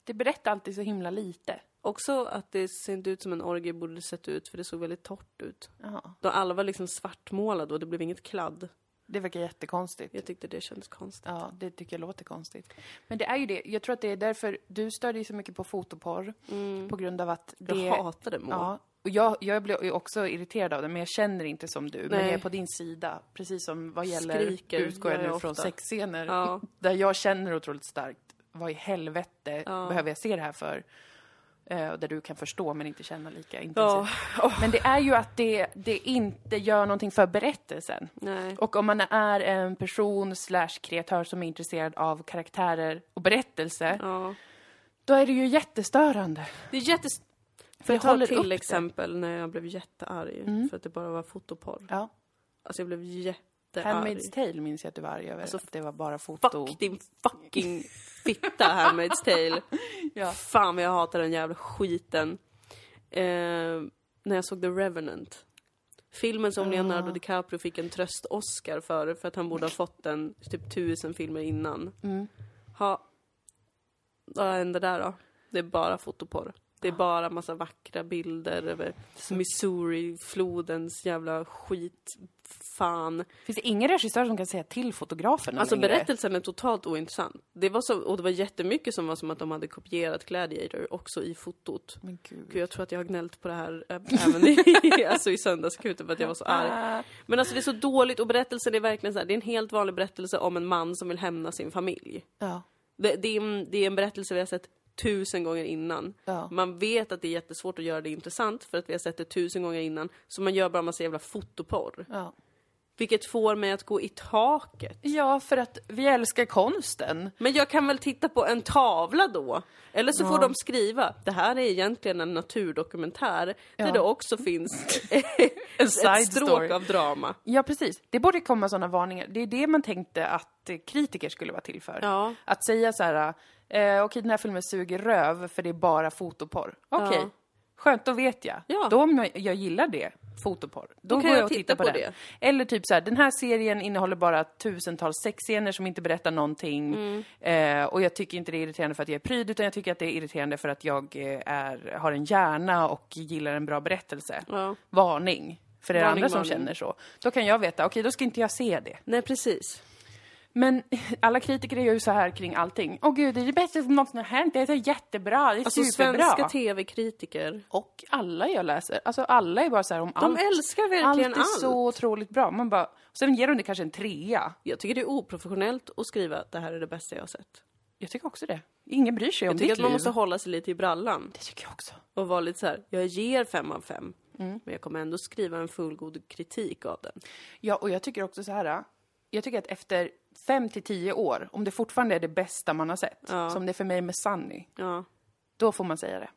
[SPEAKER 2] Det berättar alltid så himla lite.
[SPEAKER 1] Också att det ser inte ut som en orgie borde sett ut för det såg väldigt torrt ut.
[SPEAKER 2] Ja.
[SPEAKER 1] Då alla var liksom svartmålade och det blev inget kladd.
[SPEAKER 2] Det verkar jättekonstigt.
[SPEAKER 1] Jag tyckte det kändes konstigt.
[SPEAKER 2] Ja, det tycker jag låter konstigt. Men det är ju det. Jag tror att det är därför du stör dig så mycket på fotoporr.
[SPEAKER 1] Mm.
[SPEAKER 2] På grund av att det...
[SPEAKER 1] Jag hatade Moa.
[SPEAKER 2] Ja, och jag, jag blir ju också irriterad av det, men jag känner inte som du. Men
[SPEAKER 1] Nej.
[SPEAKER 2] jag är på din sida, precis som vad gäller...
[SPEAKER 1] Skriker,
[SPEAKER 2] utgår jag
[SPEAKER 1] gör
[SPEAKER 2] nu
[SPEAKER 1] jag
[SPEAKER 2] från
[SPEAKER 1] ofta.
[SPEAKER 2] sexscener.
[SPEAKER 1] Ja.
[SPEAKER 2] Där jag känner otroligt starkt, vad i helvete behöver jag se det här för? Eh, och där du kan förstå men inte känna lika
[SPEAKER 1] Ja.
[SPEAKER 2] intensivt. Men det är ju att det, det inte gör någonting för berättelsen.
[SPEAKER 1] Nej.
[SPEAKER 2] Och om man är en person slash kreatör som är intresserad av karaktärer och berättelse,
[SPEAKER 1] Ja.
[SPEAKER 2] då är det ju jättestörande.
[SPEAKER 1] Det är jättes... För
[SPEAKER 2] Vi
[SPEAKER 1] att ta
[SPEAKER 2] håller
[SPEAKER 1] ett till
[SPEAKER 2] upp det. Mm.
[SPEAKER 1] exempel när jag blev jättearg för att det bara var fotoporr.
[SPEAKER 2] Ja.
[SPEAKER 1] Alltså jag blev jättearg.
[SPEAKER 2] Handmaid's Tale minns jag att du var arg över.
[SPEAKER 1] Alltså,
[SPEAKER 2] att det var bara foto.
[SPEAKER 1] Fuck din fucking fitta Handmaid's Tale.
[SPEAKER 2] Ja.
[SPEAKER 1] Fan vad jag hatar den jävla skiten. Eh, när jag såg The Revenant. Filmen som Leonardo DiCaprio fick en tröst-Oscar för, för att han borde ha fått den typ tusen filmer innan.
[SPEAKER 2] Mm.
[SPEAKER 1] Ha, vad hände där då? Det är bara fotoporr. Det är bara massa vackra bilder över Missouri, flodens jävla skit. Fan.
[SPEAKER 2] Finns det ingen regissör som kan säga till fotografen?
[SPEAKER 1] Alltså
[SPEAKER 2] längre?
[SPEAKER 1] berättelsen är totalt ointressant. Det var så, och det var jättemycket som var som att de hade kopierat Gladiator också i fotot.
[SPEAKER 2] Men gud.
[SPEAKER 1] Gud, jag tror att jag har gnällt på det här ä- även i, alltså i söndagsakuten för att jag var så
[SPEAKER 2] Ah.
[SPEAKER 1] arg. Men alltså det är så dåligt och berättelsen är verkligen så här, det är en helt vanlig berättelse om en man som vill hämna sin familj.
[SPEAKER 2] Ja.
[SPEAKER 1] Det, det, är, en- det är en berättelse vi har sett tusen gånger innan.
[SPEAKER 2] Ja.
[SPEAKER 1] Man vet att det är jättesvårt att göra det intressant för att vi har sett det tusen gånger innan. Så man gör bara massa jävla fotoporr.
[SPEAKER 2] Ja.
[SPEAKER 1] Vilket får mig att gå i taket.
[SPEAKER 2] ja, för att vi älskar konsten.
[SPEAKER 1] Men jag kan väl titta på en tavla då? Eller så får de skriva, det här är egentligen en naturdokumentär där det också finns ett
[SPEAKER 2] side
[SPEAKER 1] stråk
[SPEAKER 2] story.
[SPEAKER 1] av drama.
[SPEAKER 2] Ja, precis. Det borde komma sådana varningar. Det är det man tänkte att eh, kritiker skulle vara till för.
[SPEAKER 1] Ja.
[SPEAKER 2] Att säga så här, eh, okej den här filmen suger röv för det är bara fotoporr. Okej,
[SPEAKER 1] Ja.
[SPEAKER 2] skönt, då vet jag.
[SPEAKER 1] Ja.
[SPEAKER 2] Då om jag, jag gillar det, fotoporr. Då,
[SPEAKER 1] kan
[SPEAKER 2] går
[SPEAKER 1] jag
[SPEAKER 2] jag och
[SPEAKER 1] titta
[SPEAKER 2] tittar på,
[SPEAKER 1] på
[SPEAKER 2] den. Eller typ så här, den här serien innehåller bara tusentals sexscener som inte berättar någonting.
[SPEAKER 1] Mm.
[SPEAKER 2] Eh, och jag tycker inte det är irriterande för att jag är pryd, utan jag tycker att det är irriterande för att jag eh, är, har en hjärna och gillar en bra berättelse.
[SPEAKER 1] Ja.
[SPEAKER 2] Varning! För er
[SPEAKER 1] Varning,
[SPEAKER 2] andra som
[SPEAKER 1] varning.
[SPEAKER 2] känner så. Då kan jag veta, okej då ska inte jag se det.
[SPEAKER 1] Nej, precis.
[SPEAKER 2] Men alla kritiker är ju så här kring allting. Åh gud, det är det bästa som någonsin har hänt, det är så jättebra, det är
[SPEAKER 1] Alltså
[SPEAKER 2] superbra.
[SPEAKER 1] svenska tv-kritiker.
[SPEAKER 2] och alla jag läser, alltså alla är bara så här om
[SPEAKER 1] De
[SPEAKER 2] allt.
[SPEAKER 1] älskar
[SPEAKER 2] Allt
[SPEAKER 1] verkligen
[SPEAKER 2] är
[SPEAKER 1] allt.
[SPEAKER 2] så otroligt bra. Man bara, sen ger de det kanske en trea.
[SPEAKER 1] Jag tycker det är oprofessionellt att skriva att det här är det bästa jag har sett.
[SPEAKER 2] Jag tycker också det. Ingen bryr sig om
[SPEAKER 1] Jag tycker
[SPEAKER 2] ditt
[SPEAKER 1] att man
[SPEAKER 2] liv.
[SPEAKER 1] måste hålla sig lite i brallan
[SPEAKER 2] Det tycker jag också.
[SPEAKER 1] och vara lite så här. jag ger fem av fem.
[SPEAKER 2] Mm.
[SPEAKER 1] Men jag kommer ändå skriva en fullgod kritik av den.
[SPEAKER 2] Ja, och jag tycker också så här. Jag tycker att efter fem till tio år, om det fortfarande är det bästa man har sett, som det är för mig med Sunny,
[SPEAKER 1] Ja. då
[SPEAKER 2] då får man säga det.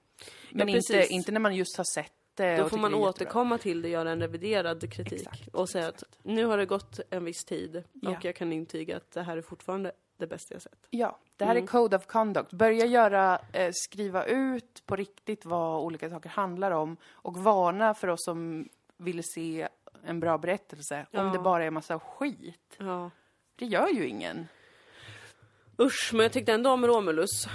[SPEAKER 2] Men
[SPEAKER 1] precis.
[SPEAKER 2] inte, inte när man just har sett det
[SPEAKER 1] Då
[SPEAKER 2] Eh, och
[SPEAKER 1] får
[SPEAKER 2] tycker
[SPEAKER 1] man
[SPEAKER 2] det är jättebra.
[SPEAKER 1] återkomma till det, göra en reviderad kritik
[SPEAKER 2] Exakt,
[SPEAKER 1] och säga att nu har det gått en viss tid
[SPEAKER 2] Ja.
[SPEAKER 1] och jag kan intyga att det här är fortfarande det bästa jag sett.
[SPEAKER 2] Ja, det här
[SPEAKER 1] Mm.
[SPEAKER 2] är Code of Conduct. Börja göra, eh, skriva ut på riktigt vad olika saker handlar om och varna för oss som vill se en bra berättelse om det bara är massa skit.
[SPEAKER 1] Ja.
[SPEAKER 2] Det gör ju ingen.
[SPEAKER 1] Usch, men jag tyckte ändå om Romulus,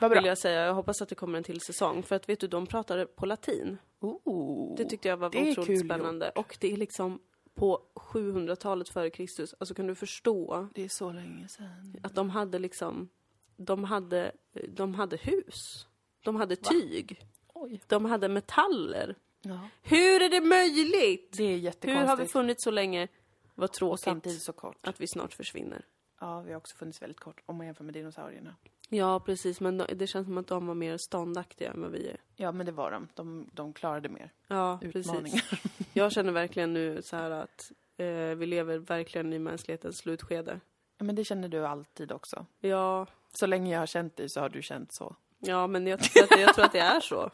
[SPEAKER 2] Vad
[SPEAKER 1] vill
[SPEAKER 2] bra.
[SPEAKER 1] jag säga. Jag hoppas att det kommer en till säsong. För att vet du, de pratade på latin.
[SPEAKER 2] Oh.
[SPEAKER 1] Det tyckte jag var
[SPEAKER 2] det är
[SPEAKER 1] otroligt
[SPEAKER 2] kul
[SPEAKER 1] spännande. Och det är liksom på 700-talet före Kristus. Alltså kan du förstå
[SPEAKER 2] Det är så länge sedan.
[SPEAKER 1] att de hade liksom, de hade, de hade hus. De hade tyg.
[SPEAKER 2] Oj.
[SPEAKER 1] De hade metaller.
[SPEAKER 2] Ja.
[SPEAKER 1] Hur är det möjligt?
[SPEAKER 2] Det
[SPEAKER 1] Hur
[SPEAKER 2] är
[SPEAKER 1] har vi
[SPEAKER 2] jättekonstigt.
[SPEAKER 1] funnits så länge? Vad
[SPEAKER 2] Samtidigt
[SPEAKER 1] tråkigt
[SPEAKER 2] så kort.
[SPEAKER 1] att vi snart försvinner.
[SPEAKER 2] Ja, vi har också funnits väldigt kort om man jämför med dinosaurierna.
[SPEAKER 1] Ja, precis. Men de- det känns som att de var mer ståndaktiga än vad vi är.
[SPEAKER 2] Ja, men det var de. De, de klarade mer.
[SPEAKER 1] Ja, precis.
[SPEAKER 2] Utmaningar.
[SPEAKER 1] Jag känner verkligen nu så här att eh, vi lever verkligen i mänsklighetens slutskede.
[SPEAKER 2] Ja, men det känner du alltid också.
[SPEAKER 1] Ja,
[SPEAKER 2] Så länge jag har känt dig så har du känt så.
[SPEAKER 1] ja men jag, tycker att, jag tror att det är så.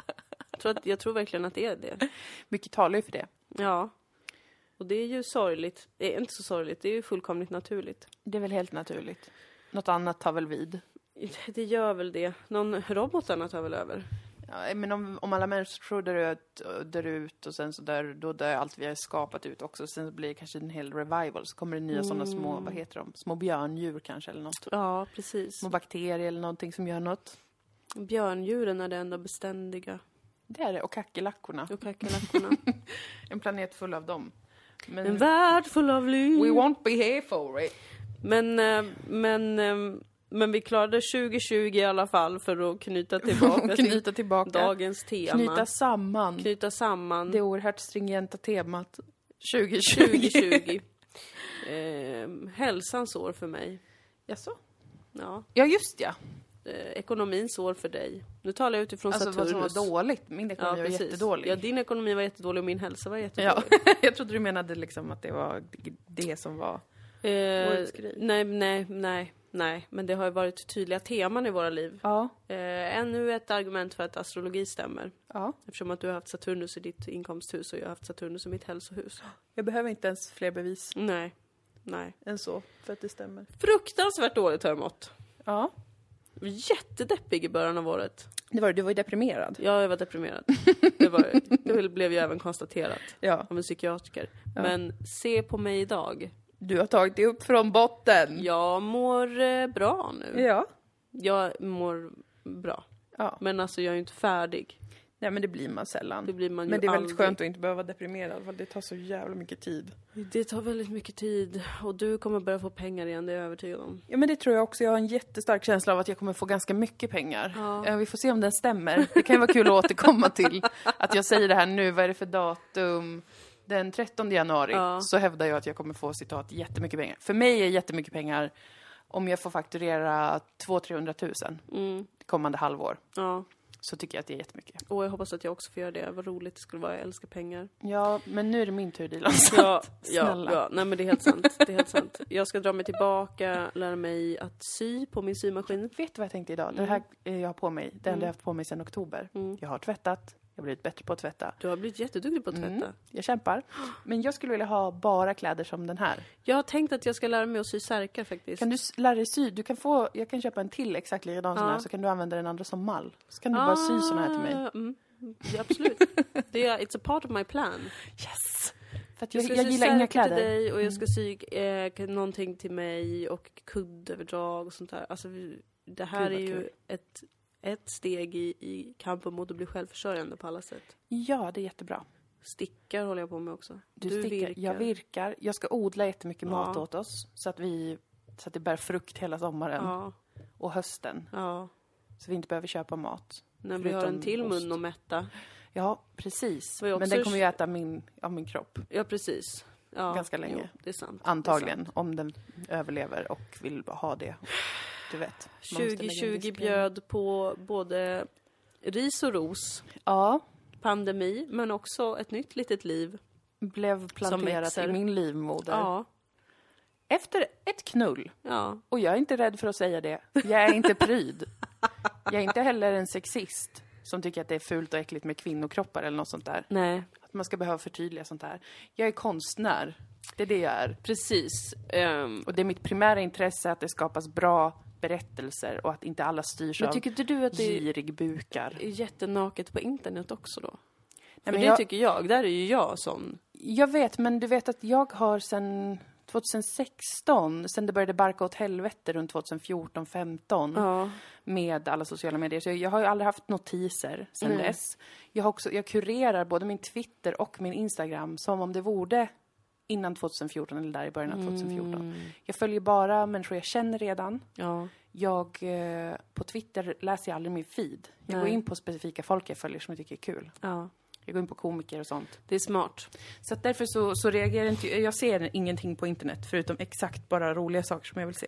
[SPEAKER 1] Jag tror, att, jag tror verkligen att det är det.
[SPEAKER 2] Mycket talar ju för det.
[SPEAKER 1] Ja. Och det är ju sorgligt. Det är inte så sorgligt, det är ju fullkomligt naturligt.
[SPEAKER 2] Det är väl helt naturligt. Något annat tar väl vid.
[SPEAKER 1] Det gör väl det. Någon robotarna tar väl över?
[SPEAKER 2] Ja, men om, om alla människor dör ut, dör ut och sen så dör, då dör allt vi har skapat ut också. Sen så blir det kanske en hel revival. Så kommer det nya sådana små, vad heter de? Små björndjur kanske eller något.
[SPEAKER 1] Ja, precis.
[SPEAKER 2] Små bakterier eller någonting som gör något.
[SPEAKER 1] Björndjuren är det enda beständiga.
[SPEAKER 2] Det är det. Och kackerlackorna.
[SPEAKER 1] Och kackerlackorna.
[SPEAKER 2] En planet full av dem. Men
[SPEAKER 1] En värld full av
[SPEAKER 2] we
[SPEAKER 1] liv.
[SPEAKER 2] won't be here for it.
[SPEAKER 1] Men, eh, men, eh, men vi klarade 2020 i alla fall för att knyta tillbaka till
[SPEAKER 2] Knyta tillbaka.
[SPEAKER 1] dagens tema.
[SPEAKER 2] Knyta
[SPEAKER 1] Knyta,
[SPEAKER 2] samman
[SPEAKER 1] samman
[SPEAKER 2] det oerhört stringenta temat 2020.
[SPEAKER 1] 2020. eh, hälsans år för mig.
[SPEAKER 2] Jaså?
[SPEAKER 1] Ja.
[SPEAKER 2] Ja, just ja.
[SPEAKER 1] Eh, ekonomins år för dig. Nu talar jag utifrån
[SPEAKER 2] Alltså vad som
[SPEAKER 1] Saturnus.
[SPEAKER 2] var dåligt. Min ekonomi var jättedålig.
[SPEAKER 1] Ja, din ekonomi var jättedålig och min hälsa var
[SPEAKER 2] Ja,
[SPEAKER 1] jättedålig.
[SPEAKER 2] jag trodde du menade liksom att det var det som var...
[SPEAKER 1] Eh,
[SPEAKER 2] Årets grej.
[SPEAKER 1] nej, nej, nej, nej. Men det har ju varit tydliga teman i våra liv.
[SPEAKER 2] Ja.
[SPEAKER 1] Eh, ännu ett argument för att astrologi stämmer.
[SPEAKER 2] ja.
[SPEAKER 1] Eftersom att du har haft Saturnus i ditt inkomsthus och jag har haft Saturnus i mitt hälsohus.
[SPEAKER 2] Jag behöver inte ens fler bevis
[SPEAKER 1] Nej. Nej.
[SPEAKER 2] än så för att det stämmer.
[SPEAKER 1] Fruktansvärt dåligt har jag mått.
[SPEAKER 2] Ja.
[SPEAKER 1] Jättedeppig i början av året.
[SPEAKER 2] Det var det. Du var ju deprimerad.
[SPEAKER 1] Ja, jag var deprimerad. Det, var, det blev ju även konstaterat
[SPEAKER 2] Ja.
[SPEAKER 1] av en psykiatriker. Men se på mig idag.
[SPEAKER 2] Du har tagit dig upp från botten.
[SPEAKER 1] Jag mår eh, bra nu.
[SPEAKER 2] Ja.
[SPEAKER 1] Jag mår bra.
[SPEAKER 2] Ja.
[SPEAKER 1] Men alltså jag är ju inte färdig.
[SPEAKER 2] Nej men det blir man sällan.
[SPEAKER 1] Det blir man ju
[SPEAKER 2] men det är väldigt
[SPEAKER 1] aldrig.
[SPEAKER 2] skönt att inte behöva vara deprimerad för det tar så jävla mycket tid.
[SPEAKER 1] Det tar väldigt mycket tid och du kommer börja få pengar igen, det är jag övertygad om.
[SPEAKER 2] Ja men det tror jag också. Jag har en jättestark känsla av att jag kommer få ganska mycket pengar.
[SPEAKER 1] Ja.
[SPEAKER 2] Eh, Vi får se om den stämmer. Det kan ju vara kul att återkomma till att jag säger det här nu. Vad är det för datum? Den 13 januari
[SPEAKER 1] Ja.
[SPEAKER 2] så hävdar jag att jag kommer få citat jättemycket pengar. För mig är jättemycket pengar om jag får fakturera 200-300 tusen
[SPEAKER 1] Mm.
[SPEAKER 2] kommande halvår.
[SPEAKER 1] Ja.
[SPEAKER 2] Så tycker jag att det är jättemycket.
[SPEAKER 1] Och jag hoppas att jag också får göra det. Vad roligt det skulle vara. Jag älskar pengar.
[SPEAKER 2] Ja, men nu är det min tur Dilan.
[SPEAKER 1] Ja, ja,
[SPEAKER 2] Snälla.
[SPEAKER 1] ja. Nej men det är helt sant. Det är helt sant. Jag ska dra mig tillbaka, lära mig att sy på min symaskin.
[SPEAKER 2] Vet du vad jag tänkte idag? Det här eh, jag har på mig, det enda jag har haft på mig sedan oktober.
[SPEAKER 1] Mm.
[SPEAKER 2] Jag har tvättat, jag har blivit bättre på att tvätta.
[SPEAKER 1] Du har blivit jätteduktig på att tvätta.
[SPEAKER 2] Mm, jag kämpar. Men jag skulle vilja ha bara kläder som den här.
[SPEAKER 1] Jag har tänkt att jag ska lära mig att sy särkar faktiskt.
[SPEAKER 2] Kan du s- lära dig sy? Du kan få, jag kan köpa en till exakt likadan
[SPEAKER 1] Ja.
[SPEAKER 2] som
[SPEAKER 1] Ah.
[SPEAKER 2] den här så kan du använda den andra som mall. Så kan du bara sy såna här till mig.
[SPEAKER 1] Mm. Ja, absolut. Det är, it's a part of my plan.
[SPEAKER 2] Yes! För att
[SPEAKER 1] Jag
[SPEAKER 2] jag,
[SPEAKER 1] ska
[SPEAKER 2] jag
[SPEAKER 1] sy
[SPEAKER 2] gillar
[SPEAKER 1] särk
[SPEAKER 2] inga kläder. Mm.
[SPEAKER 1] till dig och jag ska sy eh, någonting till mig och kuddöverdrag och sånt där. Alltså, vi- det här
[SPEAKER 2] Gud,
[SPEAKER 1] är
[SPEAKER 2] vad
[SPEAKER 1] ju
[SPEAKER 2] kul.
[SPEAKER 1] ett, ett steg i, i kampen mot att bli självförsörjande på alla sätt.
[SPEAKER 2] Ja, det är jättebra.
[SPEAKER 1] Stickar håller jag på med också.
[SPEAKER 2] Du, stickar. Jag virkar. Jag ska odla jättemycket mat
[SPEAKER 1] Ja.
[SPEAKER 2] åt oss. Så att, vi, så att det bär frukt hela sommaren
[SPEAKER 1] Ja,
[SPEAKER 2] och hösten.
[SPEAKER 1] ja.
[SPEAKER 2] Så vi inte behöver köpa mat.
[SPEAKER 1] När vi har en
[SPEAKER 2] Förutom
[SPEAKER 1] till mun
[SPEAKER 2] ost.
[SPEAKER 1] att mätta.
[SPEAKER 2] Ja, precis.
[SPEAKER 1] Får jag
[SPEAKER 2] Men
[SPEAKER 1] också-
[SPEAKER 2] den kommer ju äta min, av min kropp.
[SPEAKER 1] Ja, precis. Ja,
[SPEAKER 2] Ganska länge.
[SPEAKER 1] Jo, det är sant. Det är
[SPEAKER 2] Antagligen. Om den överlever och vill ha det. Du vet.
[SPEAKER 1] sant.
[SPEAKER 2] man måste lägga in
[SPEAKER 1] 2020
[SPEAKER 2] disciplin.
[SPEAKER 1] bjöd på både ris och ros,
[SPEAKER 2] Ja.
[SPEAKER 1] pandemi, men också ett nytt litet liv.
[SPEAKER 2] Blev planterat
[SPEAKER 1] växer.
[SPEAKER 2] i min livmoder.
[SPEAKER 1] Ja,
[SPEAKER 2] Efter ett knull.
[SPEAKER 1] ja.
[SPEAKER 2] Och jag är inte rädd för att säga det. Jag är inte pryd. Jag är inte heller en sexist som tycker att det är fult och äckligt med kvinnokroppar eller något sånt där.
[SPEAKER 1] Nej,
[SPEAKER 2] Att man ska behöva förtydliga sånt där. Jag är konstnär. Det är det jag är.
[SPEAKER 1] precis. Ehm,
[SPEAKER 2] Och det är mitt primära intresse att det skapas bra berättelser och att inte alla styrs
[SPEAKER 1] men
[SPEAKER 2] av
[SPEAKER 1] tycker inte du att det är
[SPEAKER 2] girigbukar.
[SPEAKER 1] jättenaket på internet också då?
[SPEAKER 2] Nej,
[SPEAKER 1] För
[SPEAKER 2] men
[SPEAKER 1] det
[SPEAKER 2] jag,
[SPEAKER 1] tycker jag, där är ju jag sån.
[SPEAKER 2] jag vet, men du vet att jag har sedan 2016, sen det började barka åt helvete runt 2014, 15
[SPEAKER 1] Ja.
[SPEAKER 2] med alla sociala medier. Så jag, jag har ju aldrig haft notiser sen
[SPEAKER 1] Nej.
[SPEAKER 2] dess. Jag, har också, jag kurerar både min Twitter och min Instagram som om det vore innan 2014 eller där i början av
[SPEAKER 1] Mm.
[SPEAKER 2] 2014. Jag följer bara människor jag känner redan.
[SPEAKER 1] Ja.
[SPEAKER 2] Jag, eh, på Twitter läser jag aldrig min feed. Jag
[SPEAKER 1] Nej.
[SPEAKER 2] går in på specifika folk jag följer som jag tycker är kul.
[SPEAKER 1] ja.
[SPEAKER 2] Jag går in på komiker och sånt.
[SPEAKER 1] Det är smart.
[SPEAKER 2] Så att därför så, så reagerar inte jag. ser ingenting på internet förutom exakt bara roliga saker som jag vill se.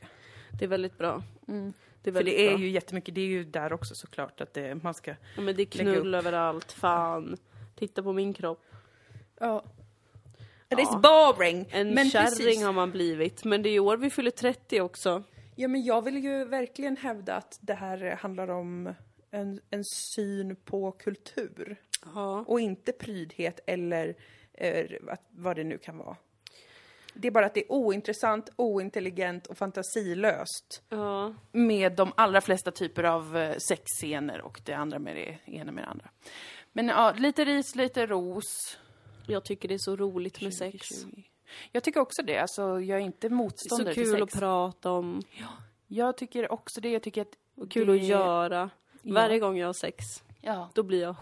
[SPEAKER 1] Det är väldigt bra. Det är
[SPEAKER 2] För
[SPEAKER 1] väldigt
[SPEAKER 2] Mm, det är
[SPEAKER 1] bra.
[SPEAKER 2] ju jättemycket, det är ju där också såklart att det, man ska...
[SPEAKER 1] Ja, men det är
[SPEAKER 2] Lägga
[SPEAKER 1] knull överallt, fan. Titta på min kropp.
[SPEAKER 2] Ja.
[SPEAKER 1] Ja.
[SPEAKER 2] It's boring!
[SPEAKER 1] En
[SPEAKER 2] men
[SPEAKER 1] kärring
[SPEAKER 2] precis.
[SPEAKER 1] har man blivit. Men det är i år vi fyller 30 också.
[SPEAKER 2] Ja, men jag vill ju verkligen hävda att det här handlar om en, en syn på kultur.
[SPEAKER 1] Ja.
[SPEAKER 2] Och inte prydhet eller eh, att- vad det nu kan vara. Det är bara att det är ointressant, ointelligent och fantasilöst.
[SPEAKER 1] ja.
[SPEAKER 2] Med de allra flesta typer av eh, sexscener och det andra med det ena med det andra. Men ja, lite ris, lite ros.
[SPEAKER 1] Jag tycker det är så roligt med sex.
[SPEAKER 2] Jag tycker också det. Alltså, jag är inte
[SPEAKER 1] Det är så
[SPEAKER 2] motståndare till
[SPEAKER 1] kul
[SPEAKER 2] sex.
[SPEAKER 1] att prata om
[SPEAKER 2] Jag tycker också det. Jag tycker att...
[SPEAKER 1] och kul
[SPEAKER 2] det...
[SPEAKER 1] att göra. Varje gång jag har sex,
[SPEAKER 2] Ja.
[SPEAKER 1] då blir jag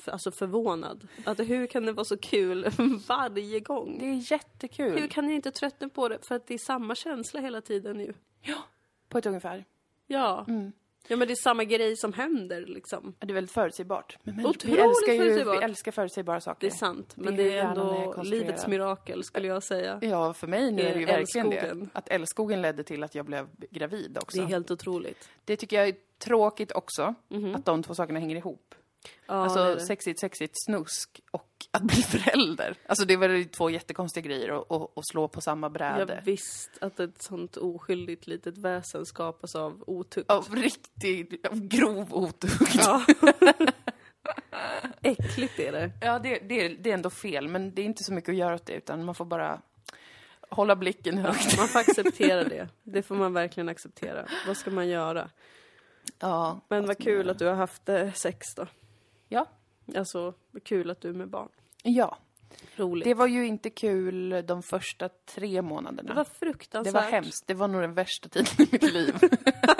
[SPEAKER 1] f- alltså förvånad. Att hur kan det vara så kul varje
[SPEAKER 2] Det
[SPEAKER 1] gång?
[SPEAKER 2] är jättekul.
[SPEAKER 1] Hur kan ni inte tröttna på det? För att det är samma känsla hela tiden ju.
[SPEAKER 2] På ett ungefär.
[SPEAKER 1] Ja.
[SPEAKER 2] Mm.
[SPEAKER 1] Ja men det är samma grej som händer liksom.
[SPEAKER 2] Det är väldigt förutsägbart. Men, men
[SPEAKER 1] Otroligt
[SPEAKER 2] vi älskar ju,
[SPEAKER 1] förutsägbart.
[SPEAKER 2] Vi älskar förutsägbara saker.
[SPEAKER 1] Det är sant. Men
[SPEAKER 2] Det är
[SPEAKER 1] det
[SPEAKER 2] hur
[SPEAKER 1] är
[SPEAKER 2] hjärnan är
[SPEAKER 1] ändå
[SPEAKER 2] konstruerad.
[SPEAKER 1] livets mirakel skulle jag säga.
[SPEAKER 2] Ja, för mig nu är det ju
[SPEAKER 1] Eh,
[SPEAKER 2] verkligen det.
[SPEAKER 1] älskogen.
[SPEAKER 2] Att älskogen ledde till att jag blev gravid också.
[SPEAKER 1] Det är
[SPEAKER 2] Det,
[SPEAKER 1] helt Mhm. otroligt.
[SPEAKER 2] tycker jag är tråkigt också, att de två sakerna hänger ihop.
[SPEAKER 1] Ja, det är
[SPEAKER 2] alltså
[SPEAKER 1] det.
[SPEAKER 2] sexigt, sexigt, snusk och att bli förälder. Alltså det var ju två jättekonstiga grejer och, och, och slå på samma bräde.
[SPEAKER 1] Jag visste att ett sånt oskyldigt litet väsen skapas av otukt.
[SPEAKER 2] Av riktig, av grov otukt.
[SPEAKER 1] Ja. Äckligt är det.
[SPEAKER 2] Ja, det, det, är- det är ändå fel, men det är inte så mycket att göra åt det, utan man får bara hålla blicken högt.
[SPEAKER 1] Man får acceptera det. Det får man verkligen acceptera. Vad ska man göra?
[SPEAKER 2] Ja.
[SPEAKER 1] Men vad kul att du har haft eh, sex då.
[SPEAKER 2] Ja.
[SPEAKER 1] Alltså, vad kul att du är med barn.
[SPEAKER 2] ja.
[SPEAKER 1] Roligt.
[SPEAKER 2] Det
[SPEAKER 1] Det
[SPEAKER 2] var ju inte kul de första tre månaderna.
[SPEAKER 1] var,
[SPEAKER 2] Det var,
[SPEAKER 1] fruktansvärt.
[SPEAKER 2] hemskt. Det var nog den värsta tiden i mitt liv.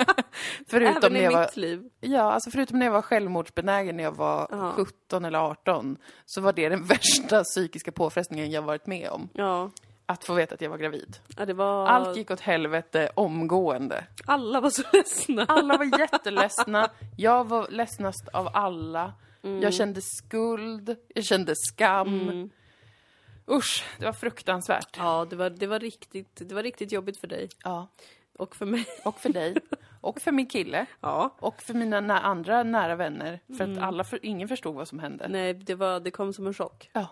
[SPEAKER 2] förutom,
[SPEAKER 1] Även
[SPEAKER 2] när
[SPEAKER 1] i
[SPEAKER 2] jag var,
[SPEAKER 1] mitt liv.
[SPEAKER 2] ja, alltså förutom när jag var självmordsbenägen när jag var
[SPEAKER 1] Ja.
[SPEAKER 2] 17 eller 18, så var det den värsta psykiska påfrestningen jag varit med om.
[SPEAKER 1] Ja.
[SPEAKER 2] Att få veta att jag var gravid.
[SPEAKER 1] ja det var...
[SPEAKER 2] Allt gick åt helvete omgående.
[SPEAKER 1] Alla var så ledsna.
[SPEAKER 2] Alla var jätteledsna. Jag var ledsnast av alla. Jag kände skuld, jag kände skam. Usch, det var fruktansvärt.
[SPEAKER 1] Ja, det var, det, var riktigt, det var riktigt jobbigt för dig.
[SPEAKER 2] Ja.
[SPEAKER 1] Och för mig.
[SPEAKER 2] Och för dig. Och för min kille.
[SPEAKER 1] Ja.
[SPEAKER 2] Och för mina nä- andra nära vänner. För att alla för- ingen förstod vad som hände.
[SPEAKER 1] Nej, det, var, det kom som en chock.
[SPEAKER 2] Ja.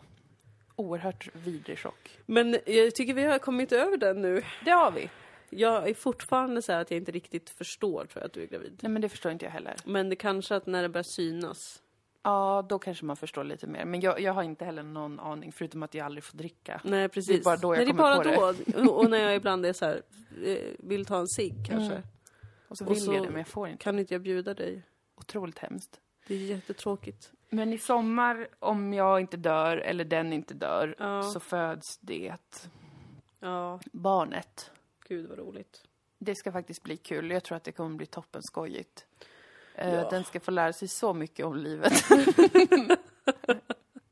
[SPEAKER 2] Oerhört vidrig chock.
[SPEAKER 1] Men jag tycker vi har kommit över den nu.
[SPEAKER 2] Det har vi.
[SPEAKER 1] Jag är fortfarande så här att jag inte riktigt förstår tror jag att du är gravid.
[SPEAKER 2] Nej men det förstår inte jag heller.
[SPEAKER 1] Men det kanske att när det börjar synas.
[SPEAKER 2] Ja, då kanske man förstår lite mer. Men jag, jag har inte heller någon aning, förutom att jag aldrig får dricka.
[SPEAKER 1] Nej precis.
[SPEAKER 2] Det är bara då
[SPEAKER 1] Nej,
[SPEAKER 2] jag
[SPEAKER 1] det är
[SPEAKER 2] kommer
[SPEAKER 1] bara
[SPEAKER 2] på
[SPEAKER 1] då. Och, och när jag ibland är så här, eh, vill ta en
[SPEAKER 2] Mm.
[SPEAKER 1] cigg kanske.
[SPEAKER 2] Och så
[SPEAKER 1] Och
[SPEAKER 2] vill
[SPEAKER 1] så-
[SPEAKER 2] jag det, men jag får inte.
[SPEAKER 1] Kan inte jag bjuda dig?
[SPEAKER 2] Otroligt hemskt.
[SPEAKER 1] Det är jättetråkigt.
[SPEAKER 2] Men i sommar, om jag inte dör eller den inte dör,
[SPEAKER 1] Ja.
[SPEAKER 2] så föds det
[SPEAKER 1] Ja,
[SPEAKER 2] barnet.
[SPEAKER 1] gud vad roligt.
[SPEAKER 2] Det ska faktiskt bli kul. Jag tror att det kommer bli toppen skojigt. Eh,
[SPEAKER 1] Ja.
[SPEAKER 2] Den ska få lära sig så mycket om livet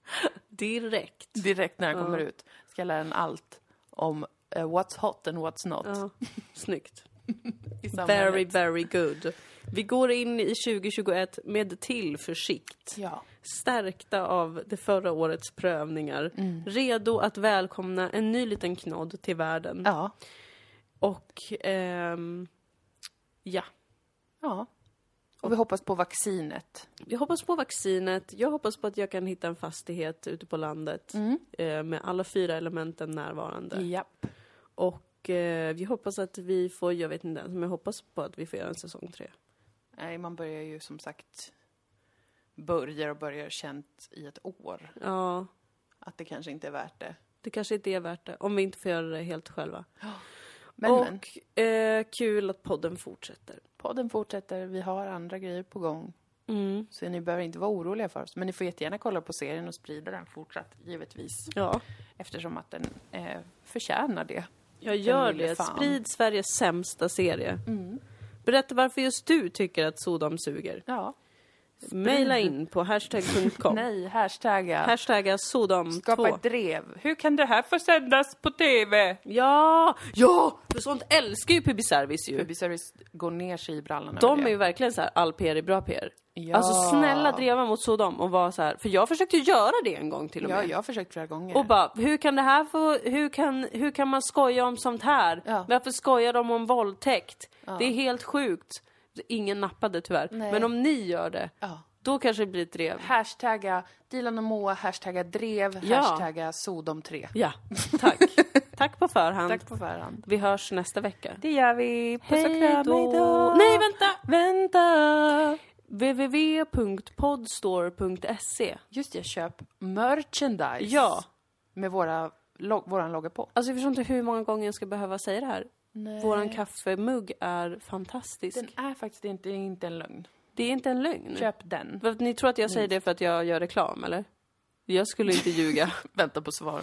[SPEAKER 1] Direkt.
[SPEAKER 2] direkt när den kommer ut. Ska jag lära den allt om eh, what's hot and what's not
[SPEAKER 1] Ja, snyggt.
[SPEAKER 2] i samhället.
[SPEAKER 1] Very, very good. Vi går in i 2021 med tillförsikt.
[SPEAKER 2] Ja.
[SPEAKER 1] Stärkta av det förra årets prövningar.
[SPEAKER 2] Mm.
[SPEAKER 1] Redo att välkomna en ny liten knodd till världen.
[SPEAKER 2] Ja.
[SPEAKER 1] Och ehm, ja,
[SPEAKER 2] ja. Och vi hoppas på vaccinet.
[SPEAKER 1] jag hoppas på vaccinet. Jag hoppas på att jag kan hitta en fastighet ute på landet
[SPEAKER 2] Mm.
[SPEAKER 1] eh, med alla fyra elementen närvarande.
[SPEAKER 2] Japp.
[SPEAKER 1] Och eh, vi hoppas att vi får, jag vet inte ens, men jag hoppas på att vi får göra en säsong tre.
[SPEAKER 2] Nej, man börjar ju som sagt börjar och börjar känt i ett år
[SPEAKER 1] Ja,
[SPEAKER 2] att det kanske inte är värt det.
[SPEAKER 1] det kanske inte är värt det. Om vi inte får göra det helt själva.
[SPEAKER 2] Men, men
[SPEAKER 1] och eh, kul att podden fortsätter.
[SPEAKER 2] podden fortsätter. Vi har andra grejer på gång. Så ni behöver inte vara oroliga för oss. Men ni får jättegärna kolla på serien och sprida den fortsatt, givetvis.
[SPEAKER 1] Ja,
[SPEAKER 2] Eftersom att den eh, förtjänar det.
[SPEAKER 1] jag gör
[SPEAKER 2] lille
[SPEAKER 1] det.
[SPEAKER 2] fan. Mm.
[SPEAKER 1] Sprid Sveriges sämsta serie. Berätta varför just du tycker att Sodom suger.
[SPEAKER 2] Ja.
[SPEAKER 1] Maila in på hashtag.com.
[SPEAKER 2] Nej, hashtagga.
[SPEAKER 1] Hashtagga
[SPEAKER 2] Skapa
[SPEAKER 1] Sodom2.
[SPEAKER 2] ett drev. Hur kan det här få sändas på TV?
[SPEAKER 1] Ja! Ja! För sånt älskar ju Public Service ju.
[SPEAKER 2] Publicservice går ner sig i brallan över
[SPEAKER 1] De
[SPEAKER 2] det.
[SPEAKER 1] är ju verkligen så här, all PR är bra PR.
[SPEAKER 2] Ja.
[SPEAKER 1] Alltså snälla dreva mot Sodom och vara så här, för jag försökte göra det en gång till och
[SPEAKER 2] Ja,
[SPEAKER 1] med.
[SPEAKER 2] jag har försökt flera gånger.
[SPEAKER 1] Och bara, hur kan det här få, hur kan, hur kan man skoja om sånt här?
[SPEAKER 2] Ja.
[SPEAKER 1] Varför skojar de om våldtäkt? Det är helt sjukt. Ingen nappade tyvärr.
[SPEAKER 2] Nej.
[SPEAKER 1] Men om ni gör det,
[SPEAKER 2] Ja.
[SPEAKER 1] då kanske det blir ett drev.
[SPEAKER 2] Hashtagga Dilan och Moa, hashtagga drev,
[SPEAKER 1] Ja.
[SPEAKER 2] hashtagga Sodom3.
[SPEAKER 1] Ja, tack. tack på förhand.
[SPEAKER 2] Tack på förhand.
[SPEAKER 1] Vi hörs nästa vecka.
[SPEAKER 2] Det gör vi. Puss och
[SPEAKER 1] Hej
[SPEAKER 2] kram,
[SPEAKER 1] då.
[SPEAKER 2] hejdå!
[SPEAKER 1] Nej, vänta!
[SPEAKER 2] Vänta!
[SPEAKER 1] www.podstore.se
[SPEAKER 2] Just det, köp merchandise.
[SPEAKER 1] Ja.
[SPEAKER 2] Med våra, lo- våran logga på.
[SPEAKER 1] Alltså jag förstår inte hur många gånger jag ska behöva säga det här. Våran kaffemugg är fantastisk.
[SPEAKER 2] Eh. Den är faktiskt inte, inte en lögn.
[SPEAKER 1] Det är inte en lögn.
[SPEAKER 2] Köp den.
[SPEAKER 1] För att Ni tror att jag säger det för att jag gör reklam, eller? Jag skulle inte ljuga.
[SPEAKER 2] Vänta på svar.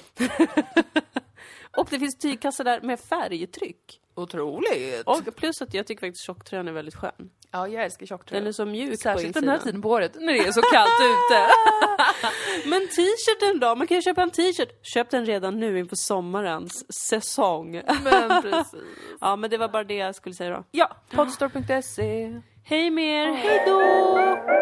[SPEAKER 1] Och det finns tygkassar där med färgtryck.
[SPEAKER 2] Otroligt!
[SPEAKER 1] Och plus att jag tycker faktiskt tjocktröjan är väldigt skön.
[SPEAKER 2] ja, jag älskar tjocktröjor.
[SPEAKER 1] Den är så mjuk
[SPEAKER 2] Särskilt
[SPEAKER 1] på
[SPEAKER 2] den här
[SPEAKER 1] insidan.
[SPEAKER 2] tiden på året när det är så kallt ute.
[SPEAKER 1] Men t-shirten då? Man kan ju köpa en t-shirt. Köp den redan nu inför sommarens säsong.
[SPEAKER 2] Men precis.
[SPEAKER 1] Ja, men det var bara det jag skulle säga då.
[SPEAKER 2] Ja, podstore.se.
[SPEAKER 1] Hej med er! Hej då!